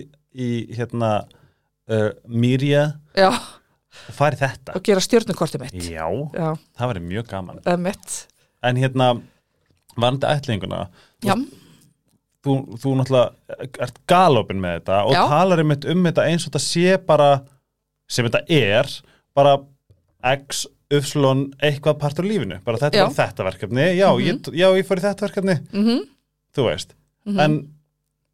í hérna uh, mýrja
Já,
og fari þetta.
og gera stjórnukortið mitt.
Já,
Já,
það verið mjög gaman.
það er mitt.
En hérna, varandi ætlinguna,
Já,
þú, þú náttúrulega ert galopin með þetta og
Já.
talar einmitt um þetta eins og þetta sé bara, sem þetta er, bara x, ypsilon, eitthvað partur af lífinu. Bara þetta
Já.
var þetta verkefni, já, ég, já, ég fór í þetta verkefni,
mhm, mhm,
þú veist. En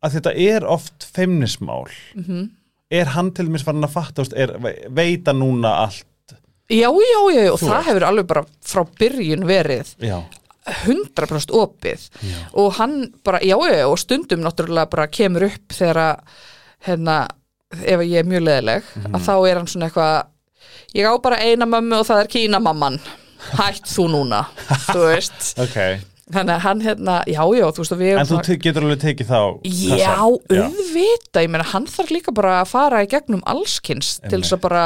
að þetta er oft feimnismál.
mhm.
er hann til mér farin að fatta þú veist, er, ve- veita núna allt
Já, já, já, og
Þú
það
veist.
hefur alveg bara frá byrjun verið
já,
100% opið
já.
og hann bara, já, já, og stundum náttúrulega bara kemur upp þegar að, hérna, ef ég er mjög leðileg,
Mhm.
að þá er hann svona eitthvað, ég á bara eina mömmu og það er kínamamman, hætt þú núna, þú veist.
ok,
Þannig að hann hérna, já, já, þú veist að við erum
en þú te- getur alveg tekið þá
Já, um auðvita, ég meina hann þarf líka bara að fara í gegnum allskins til þess að bara,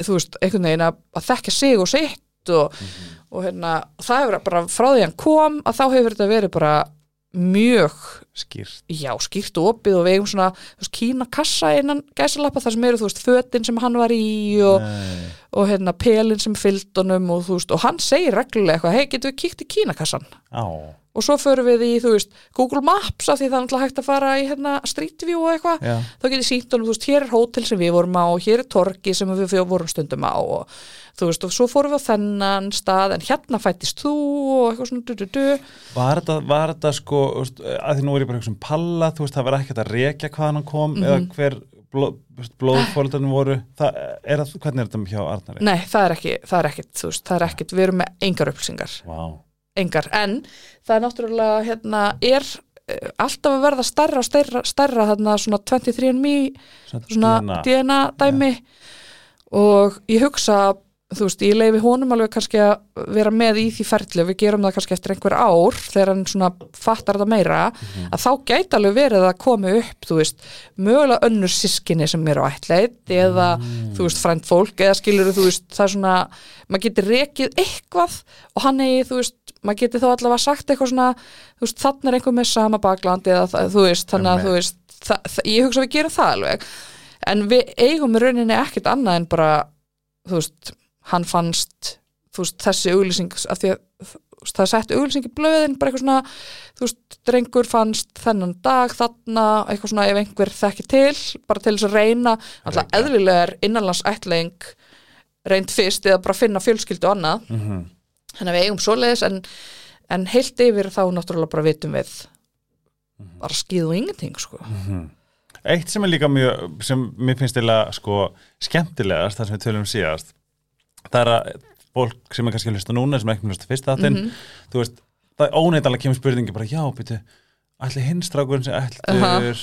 þú veist, einhvern veginn að, að þekka sig og sitt og, og hérna, það hefur bara frá því hann kom að þá hefur þetta verið bara mjög,
skýrt
já, skýrt og opið og við eigum svona, þú veist, kína kassa innan gæsalappa þar sem eru, þú veist, fötin sem hann var í og,
Nei.
og hérna pelin sem fyllt honum og þú veist, og hann segir reglulega eitthvað, hei, getum við kíkt í kínakassan?
á,
og svo förum við í, þú veist, Google Maps af því það er náttúrulega hægt að fara í hérna Street View og eitthvað,
já,
þá getur sínt honum, þú veist, hér er hótel sem við vorum á og hér er torgi sem við fyrir vorum stundum á og þú veist, og svo fórum við á þennan stað en hérna fættist þú og eitthvað svona du, du, du.
var þetta, var þetta sko þú veist, að því nú er ég bara eitthvað sem palla þú veist, það var ekkert að rekja hvaðan hann kom eða hver bló, blóðfóldarnir voru það, er að, hvernig er þetta hjá Arnari?
Nei, það er ekki, það er ekkit, þú veist, það er ekkit, við erum með engar upplýsingar,
Vá.
engar, en það er náttúrulega, hérna, er eh, alltaf að verða stærra og stærra, stærra þarna svona 23andMe
Svona
svona
DNA.
DNA dæmi og ég hugsa þú veist, ég leifi honum alveg kannski að vera með í því ferli og við gerum það kannski eftir einhver ár þegar hann svona fattar þetta meira að þá gæti alveg verið að komi upp þú veist, mögulega önnur sískinni sem eru ætleitt eða þú veist, frænt fólk eða skilur þú veist, það er svona, maður getur rekið eitthvað og hann eigi, þú veist maður getur þá allavega sagt eitthvað svona þú veist, þannig er einhver með sama bakland eða það- þú veist, þannig að þú veist það, það, ég hugsa að við gerum það alveg en við eigum í rauninni ekkert annað en bara þú veist, hann fannst þú veist, þessi auglýsing af því að þú veist, það er sett auglýsing í blöðin bara eitthvað svona, þú veist, drengur fannst þennan dag, þarna, eitthvað svona ef einhver þekki til, bara til þess að reyna alltaf eðlilega er innanlands ætling reynd fyrst eða bara finna fjölskyldu og annað
Mhm.
þannig að við eigum svoleiðis en, en heilt yfir þá náttúrulega bara vitum við bara skýðu og ingenting sko
Eitt sem er líka mjög, sem mér finnst til að sko skemmtilegast, það sem við tölum síðast, það er að fólk sem er kannski að hlusta núna, sem er ekki að hlusta fyrst þáttinn,
Mhm.
þú veist, það er óneittalega kemur spurningi bara, já, byrju, allir hinstrákurinn sem ættur
Aha.
er,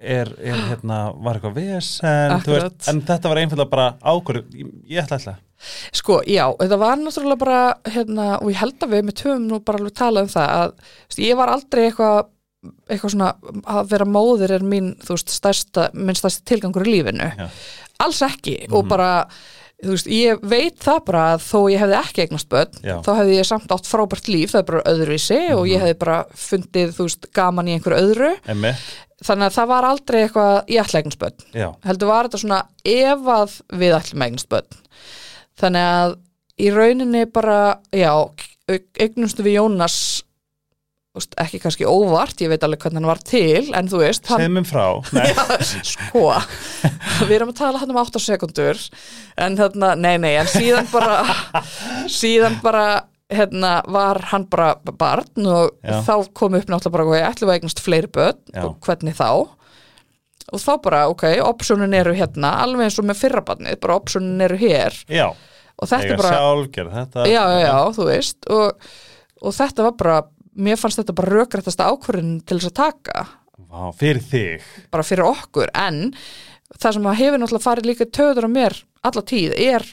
er hérna, var eitthvað vesen, þú
Akkurat.
veist, en þetta var einfallega bara ákvörðu, ég, ég ætla ætla.
Sko, já, þetta var náttúrulega bara hérna, og ég held að við með töfum nú bara alveg tala um það að þú veist, ég var aldrei eitthvað eitthvað svona að vera móðir er mín, þú veist, stærsta, minn stærsta tilgangur í lífinu
Já. Mhm.
alls ekki og bara þú veist, ég veit það bara að þó ég hefði ekki eignast börn,
Já. Mhm.
þá hefði ég samt átt frábært líf, það er bara öðruvísi og ég hefði bara fundið, þú veist, gaman í einhverju öðru
Emmi,
þannig að það var aldrei eitthvað, ég ætla að eignast börn
já,
heldur var þetta svona ef að við ætlum að eignast börn þannig að í rauninni bara já, eignumstu við Jónas þú veist, ekki kannski óvart, ég veit alveg hvernig hann var til en þú veist, hann
segðum frá, nei,
sko við erum að tala hann um 8 sekundur en þarna, nei nei, en síðan bara síðan bara hérna var hann bara barn og
Já.
þá kom upp náttúrulega bara hvað ég ætlum að eignast fleiri börn
Já.
og hvernig þá og þá bara, ok, optionin eru hérna alveg eins og með fyrra barnið, bara optionin eru hér
já,
og þetta
eiga
er bara
sjálf, gera þetta,
já, já, já, þú veist og, og þetta var bara, mér fannst þetta bara rökrættasta ákvörðin til þess að taka
Vá, fyrir þig,
bara fyrir okkur en það sem að hefur náttúrulega farið líka töður á mér alla tíð er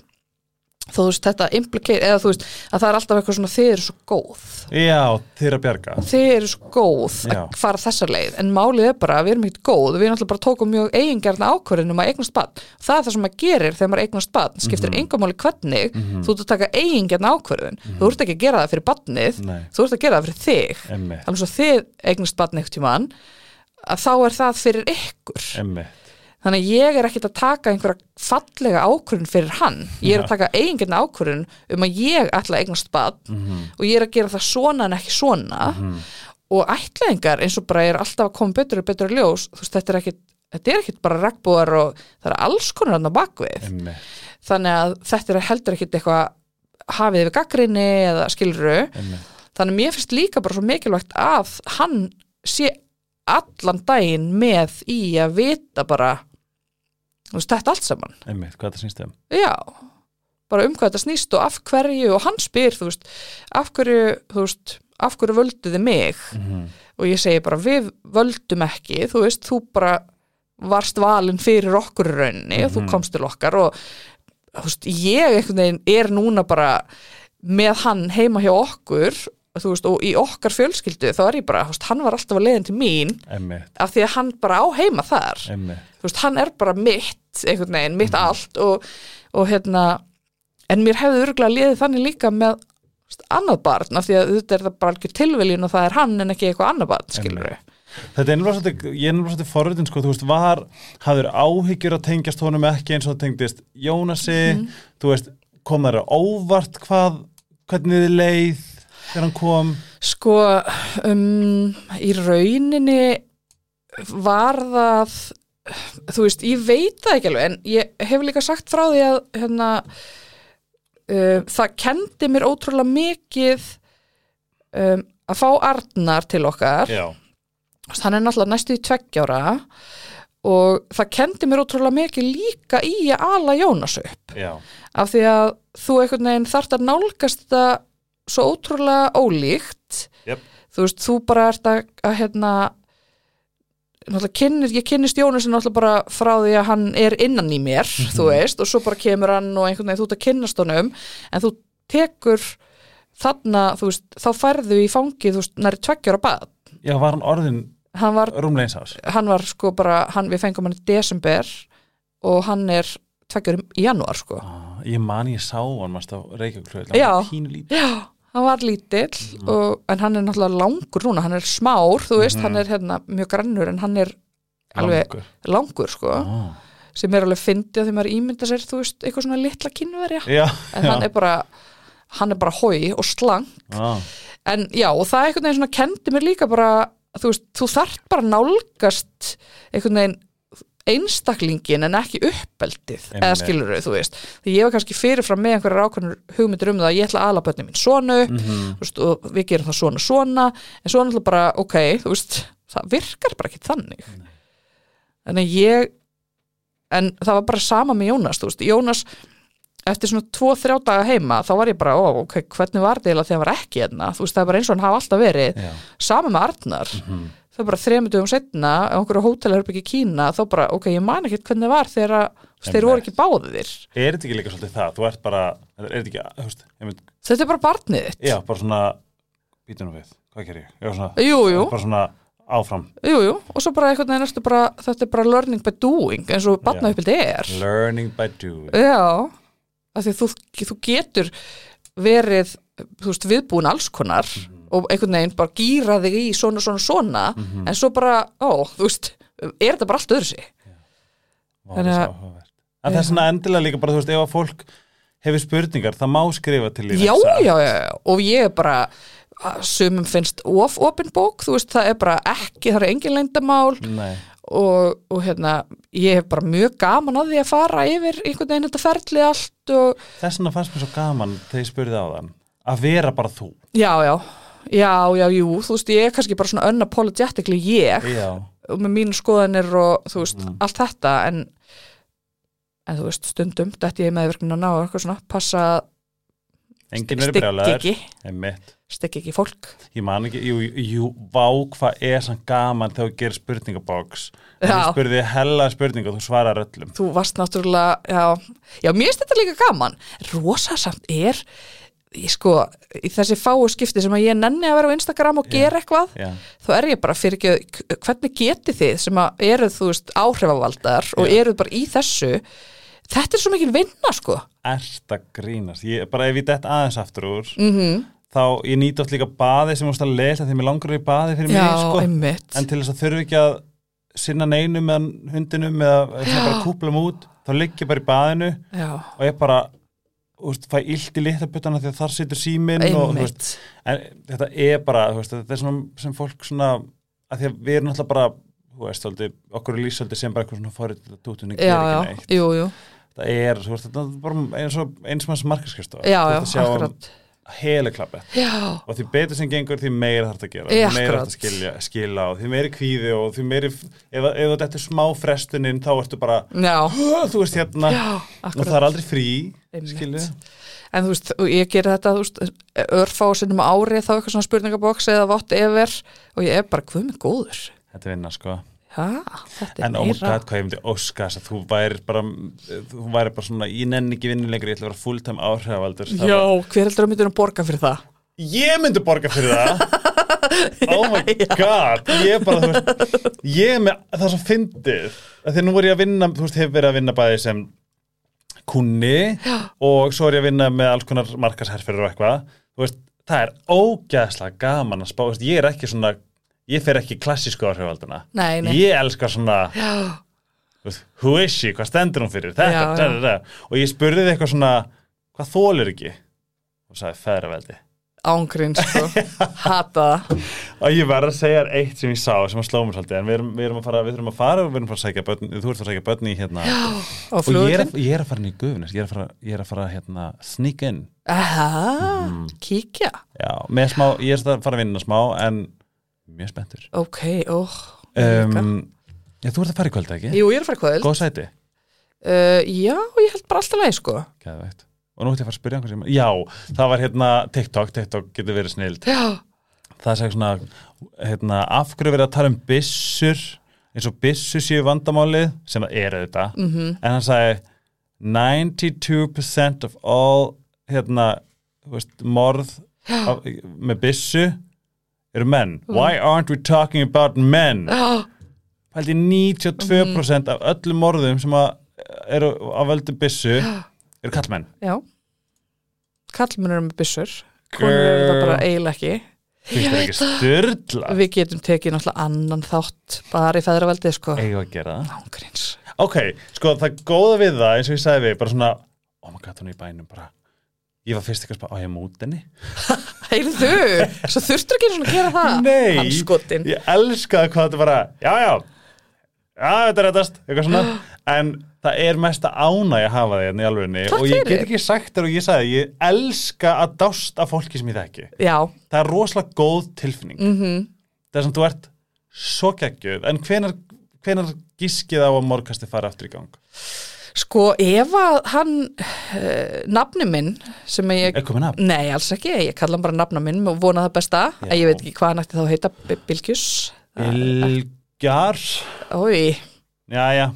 þú veist þetta implicate eða þú veist að það er alltaf eitthvað svona þið eru svo góð
já, þér að bjarga,
þið eru svo góð
Já.
að fara þessa leið en málið er bara að við erum ekkert góð við náttúrulega bara tókum mjög eigingjarna ákvörðin um að eignast barn það er það sem maður gerir þegar maður eignast barn skiptir mm
Mhm.
-hmm. engamáli hvernig þú ert að taka eigingjarna ákvörðin þú ert ekki að gera það fyrir barnið
Mhm. Nei.
þú ert að gera það fyrir þig
Emmi,
þannig svo þið eignast barn eitthvað tímann að þá er það fyrir ykkur
emmi.
þannig að ég er ekkert að taka einhverja fallega ákvörðun fyrir hann ég er að taka eigingjörna ákvörðun um að ég ætla að eignast bad
mhm.
og ég er að gera það svona en ekki svona og ætlaðingar eins og bara er alltaf að koma betur og betur í ljós þú veist, þetta er ekkert Þetta er ekkert bara regnbúar og það er alls konar hann á bakvið.
Einmitt,
Þannig að þetta er heldur ekkert eitthvað hafið við gaggrinni eða skilru.
einmitt.
Þannig að mér finnst líka bara svo mikilvægt að hann sé allan daginn með í að vita bara þú veist, þetta allt saman
Einmitt, hvað um? það sínst þeim?
já, bara um hvað þetta snýst og af hverju, og hann spyr þú veist, af hverju, þú veist af hverju völduði mig
Mhm.
og ég segi bara, við völdum ekki þú veist, þú bara varst valin fyrir okkur í rauninni og þú komst til okkar og þú veist, ég einhvern veginn er núna bara með hann heima hjá okkur þú veist, og í okkar fjölskyldu þá er ég bara, þú veist, hann var alltaf að leiðin til mín
Einmitt,
af því að hann bara á heima þar
einmitt,
þú veist, hann er bara mitt einhvern veginn, mitt allt og, og hérna, en mér hefði örgulega liðið þannig líka með þú veist, annað barn, af því að þetta er það bara algjör tilviljun og það er hann en ekki eitthvað annað barn skilur við,
Þetta er ennlega svolítið, ég er ennlega svolítið forritin sko, þú veist, var, hafður áhyggjur að tengjast honum ekki eins og það tengdist Jónasi, þú veist, kom þær á óvart hvað, hvernig þið leið þegar hann kom,
sko um, í rauninni var það þú veist, ég veit það ekki alveg en ég hef líka sagt frá því að hérna uh, það kendi mér ótrúlega mikið um, að fá Arnar til okkar
já,
Þú veist, hann er náttúrulega næstu í tveggjára og það kendi mér ótrúlega mikið líka í að ala Jónas upp
já,
af því að þú einhvern veginn þarft að nálgast þetta svo ótrúlega ólíkt
Jep.
þú veist, þú bara ert að, að hérna náttúrulega kynnir, ég kynnist Jónasi náttúrulega bara frá því að hann er innan í mér, þú veist, og svo bara kemur hann og einhvern veginn þú ert að kynnast honum, en þú tekur þarna, þú veist, þá færðu í fangið, þú veist, næri tveggjur á bað.
Já, var hann orðin
Hann var,
rúmlega eins ás?
hann var sko bara, hann, við fengum hann í desember og hann er tveggjur í janúar, sko.
Ah, Ég man ég sá hann mest á Reykjavík
Já.
Pínu lítið.
Já, hann var lítill
Mhm.
og, en hann er náttúrulega langur núna, hann er smár, þú veist, hann er hérna mjög grannur en hann er alveg langur,
Mhm. Langur.
sko,
Ah.
sem er alveg fyndið að þegar maður ímynda sér, þú veist, eitthvað svona litla kynverja,
Já,
en hann er bara hann er bara hói og slang
ah.
en já, og það einhvern veginn svona kendi mér líka bara, þú veist, þú þarft bara að nálgast einhvern veginn einstaklingin en ekki uppeldið
Einmitt.
eða skilur þau, þú veist því ég var kannski fyrirfram með einhverjar ákvæmur hugmyndir um það að ég ætla aðla bönni mín svona
Mhm.
þú veist, og við gerum það svona svona en svona ætla bara, ok, þú veist það virkar bara ekki þannig en að ég en það var bara sama með Jónas, þú veist Jónas, eftir svona 2-3 daga heima, þá var ég bara, ó, ok, hvernig var það eiginlega þegar hann var ekki hérna, þú veist, það er bara eins og hann hafa alltaf verið,
Já.
sama með Arnar það er bara þremundum setna á einhverju hótelherbyggi í Kína, þá bara, ok, ég man ekkert hvernig var þegar að- þú veist, þeir voru ekki báðir
Er þetta ekki líka svolítið það? Þú ert bara, er þetta ekki, þú veist, einmitt,
þetta er bara barnið þitt
já, bara svona, býtum við, hvað ger ég? Já, svona,
jú, jú,
bara svona áfram,
jú, jú, og svo bara einhvern veginn ertu bara, þetta er bara learning by doing eins og barnauppildi er
learning by doing.
Já, af því þú, þú getur verið þú veist, viðbúin alls konar
Mhm.
og einhvern veginn bara gýra þig í svona, svona, svona en svo bara, ó, þú veist er þetta bara allt öðru sig
Vá,
Þannig
það er
að-
áhugavert. En það er svona endilega líka bara, þú veist, ef að fólk hefur spurningar, það má skrifa til í
já,
þessa.
já, já, já, og ég er bara að sumum finnst of opin bók, þú veist, það er bara ekki það er engin leyndamál
Nei,
og, og hérna, ég hef bara mjög gaman að því að fara yfir einhvern veginn þetta ferli allt og
þess vegna fannst mér svo gaman þegar ég spurði á þann, að vera bara þú.
já, já, já, já, jú þú veist, ég er kannski bara svona unapologetically ég
Já,
og með mínu skoðanir og þú veist,
Mm.
allt þetta en, en þú veist, stundum dætti ég í meðverknina og eitthvað svona passa að
enginn verið
styggi
brjálæður.
ekki
Einmitt.
styggi ekki fólk
Ég man ekki, jú, jú, jú, vá hvað er sann gaman þegar þú gerir spurningaboks og þú
Já.
spurði hella spurning og þú svarar öllum
þú varst náttúrulega, já, já mér finnst þetta líka gaman, rosasamt er ég sko, í þessi fáu skipti sem að ég nenni að vera á Instagram og gera eitthvað,
Já,
þá er ég bara fyrir ekki, hvernig geti þið sem að eruð, þú veist, áhrifavaldar og
Já.
eruð bara í þessu þetta er svo mikil vinna, sko
ert að grínast ég, bara ef ég dett aðeins aftur úr
Mhm.
-hmm. þá ég nýt oft líka baði sem þú veist að lesa því mér langar í baði fyrir
já,
mig sko.
einmitt
en til þess að þurfi ekki að sinna neinu meðan hundinum eða svona bara kúplum út þá ligg ég bara í baðinu
já.
og ég bara úst, fæ illt í litlabutana því að þar situr síminn og þú veist,
Einmitt,
en þetta er bara þú veist, þetta er svona sem fólk svona að því að við erum alltaf bara þú veist, svolítið, okkur er lýsaldi sem bara eitthvað svona forrið dútunni
já,
gerir ekki
já,
neitt
jú, jú
það er, þú veist, þetta er bara eins og eins og hans markaskristof
Já, já,
sjá um
akkurat
heliklappið
Já,
og því betur sem gengur því meira þarf þetta að gera
Já,
því meira
akkurat.
þarf þetta að skilja, skila og því meiri kvíði og því meiri, ef, ef þetta er smá frestuninn þá ertu bara,
já,
þú veist hérna
já,
og
akkurat
það er aldrei frí
Einmitt.
skilju,
En þú veist, og ég gerir þetta, þú veist, örfá sinnum á ári þá eitthvað svona spurningaboks eða vott efer og ég er bara, hvað með góður?
þetta er vinna sko
Já, þetta er
En oh my
meira
god, hvað ég myndi óska þess að þú væri bara, þú væri bara svona, ég nenni ekki vinnu lengur, ég ætla að vera fulltime áhrifavaldur. Það
Já,
var-
hver heldur að myndir að borga fyrir það?
Ég myndi borga fyrir það. oh my god, ég er bara, þú veist, ég er með það er svo fyndið. Af Því að nú er ég að vinna, þú veist, hefur verið að vinna bæði sem kunni og svo er ég að vinna með alls konar markasherfyrir og eitthvað. Þú veist, það er ógæðslega gaman að spá, þú veist, ég er ekki svona, ég fer ekki í klassísku áhrifavalduna.
Nei, nei.
Ég elskar svona...
Já,
Þú veist, who is she, hvað stendur hún fyrir þetta,
Já,
da,
já.
da, da. og ég spurði þið eitthvað svona hvað þólir ekki og sagði feðraveldi
ángrín, sko Hata það
og ég verð að segja þér eitt sem ég sá sem að sló mér svolítið, en við erum, við erum að fara við erum að fara og við erum að fara að sækja börn þú ert að sækja börn í hérna
á
og ég er,
flugurinn
að, ég er að fara inn í gufunis, ég er að fara, ég er að fara hérna sneak in,
Aha,
Mm.
kíkja
já, með smá ég er að fara að vinna smá, en mjög spenntur
Ok, ó ég líka.
um, já, þú ert að fara í kvöld, ekki?
Jú, ég er að fara í kvöld uh,
góð sæti
Já, ég held bara alltaf leið, sko
Geðveikt. og nú ætti ég að fara að spyrja einhvern sem já, það var hérna TikTok, TikTok getur verið snild
Já,
það sagði svona hérna, af hverju verið að tala um byssur eins og byssu séu vandamálið sem það er auðvitað -hmm. en hann sagði 92% of all hérna, þú veist, morð af, með byssu eru menn Why aren't we talking about men?
Já,
Pældi 92% af öllum morðum sem að eru á völdu byssu eru kallmenn
já. Kallmenn eru með byssur. Konur eru það
Girl.
bara eiginlega ekki.
Fyrst það er ekki styrla
Við getum tekið náttúrulega annan þátt bara í feðraveldið, sko.
Eigum við að gera það
Ángríns.
Ok, sko það góða við það eins og ég sagði við bara svona, oh my god, hún er í bænum bara Ég var fyrst eitthvað spá, á ég mút henni
Heyrðu, svo þurftur ekki einu sinni að gera það.
Nei,
Hann skotin.
ég elskaði hvað þetta bara Já, já, já, þetta er rettast Eitthvað svona, en það er mesta ána ég hafa þig hérna í alveginni
Takk
Og ég
fyrir.
get ekki sagt þér og ég sagði Ég elska að dást af fólki sem ég þekki
Já,
Það er rosalega góð tilfinning mm
Mhm.
-hmm. Það er sem þú ert svo geggjöð En hvenar, hvenar gískið á að morgkasti fara aftur í gang?
sko ef að hann, uh, nafni minn sem ég...
Er komin af?
Nei, alls ekki, ég kalla hann bara nafna minn og vona það besta,
Já.
en ég veit ekki hvað hann ætti þá að heita, B- Bilgjus
Ilgar
Ói,
Jæja,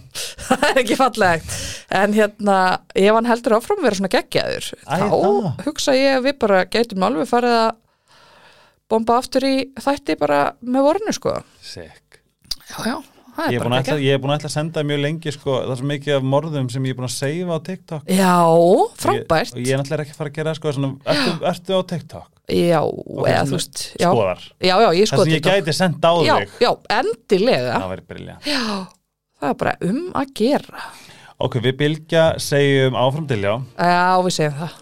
það er ekki fallegt en hérna, ef hann heldur áfram að vera svona geggjaður,
Æ,
þá
það.
hugsa ég að við bara gætum alveg farið að bomba aftur í þætti bara með vorinu sko
sick
Já, já, það
Ég
er
er búin að
bara
ætla,
geggjað
ég er búin að ætla að senda mjög lengi sko, það er svo mikið af morðum sem ég er búin að seifa á TikTok
Já, frábært
Ég, og ég er náttúrulega ekki að fara að gera það, sko, svona, ertu, ertu á TikTok?
Já,
svona
eða þú veist já.
skoðar.
Já, já, ég
Það sem
skoði
ég gæti senda á
Já,
þig
já, endilega
Það væri brilja
Já, það er bara um að gera
Ok, við bylgja segjum áfram til já
Já, við segjum það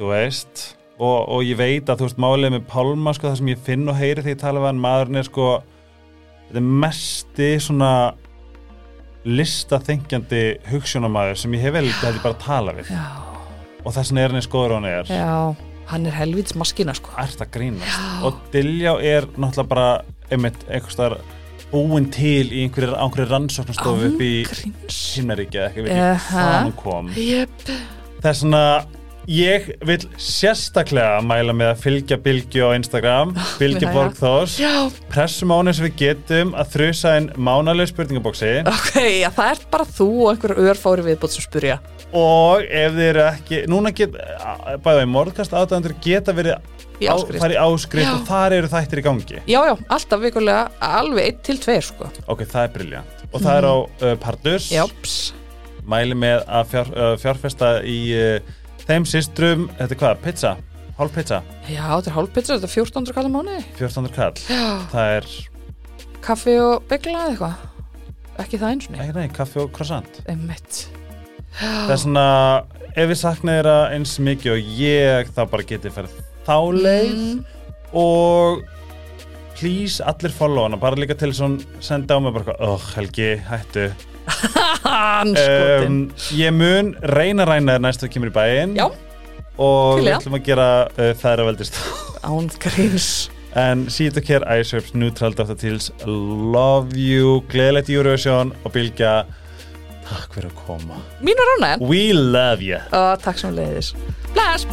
Þú veist og, og ég veit að þú veist málið með Pálma sko, það sem ég finn og heyri þegar ég tala við hann maðurinn er sko þetta er mesti svona listaþengjandi hugsjónamaður sem ég hef vel held ég bara að tala við
Já,
og þess vegna er hann í skoður og hann er
já, hann er helvíts maskina sko
ert að grínast og Diljá er náttúrulega bara einmitt einhvers staðar búin til í einhverjir einhverjir rannsóknastofu upp í
Ángríns
Himnaríkja eða eitthvað uh
Aha.
hvað hann kom
Jöp
þess vegna ég vil sérstaklega mæla með að fylgja Bilgju á Instagram Bilgju
jæja.
Borgþós
Ah, Já,
pressum á henni sem við getum að þrusa inn mánaleg spurningabóksi
ok, já, það er bara þú og einhver örfári viðbútt sem spyrja.
og ef þið eru ekki núna get, bæða í morðkast aðdæðandur geta verið
Í
á-
áskrift.
farið í áskrift
Já.
og þar eru þættir í gangi
Já, já, alltaf vikulega, alveg einn til tveir, sko.
ok, það er briljant og það er á uh, Pardus
Mm. Já, ps,
mæli með að fjár, uh, fjárfesta í uh, þeim systrum, þetta er hvað, pizza hálf pizza,
já, þetta er hálfpizza, þetta er 1400 kallar mánuði.
1400 kall
Já.
það er,
Kaffi og byggla eða eitthvað. Ekki það eins og neitt.
nei, nei, kaffi og croissant
Einmitt.
það er svona, ef við saknaði þeirra eins mikið og ég þá bara geti farið þá leið
Mm.
og please allir follow hana, bara líka til þess að hún senda á mig bara eitthvað, oh Helgi, hættu
Hann skotin.
um, ég mun reyna að ræna þér næst þú kemur í bæinn
já,
og
til í
við
það.
ætlum að gera uh, þæðraveldist
án gríns.
en see you care, I serves neutral data deals, love you gleðilegt Eurovision og Bilgja takk fyrir að koma
Mín var ánægðan.
we love you
Og takk sem leiðis. Bless!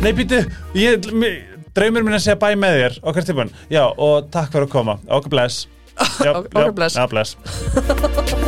nei býtu, ég mi- draumur minn að segja bæ með þér okkar tilbúin, já og takk fyrir að koma okkur bless já,
Ok- okkur
já,
bless.
já, bless.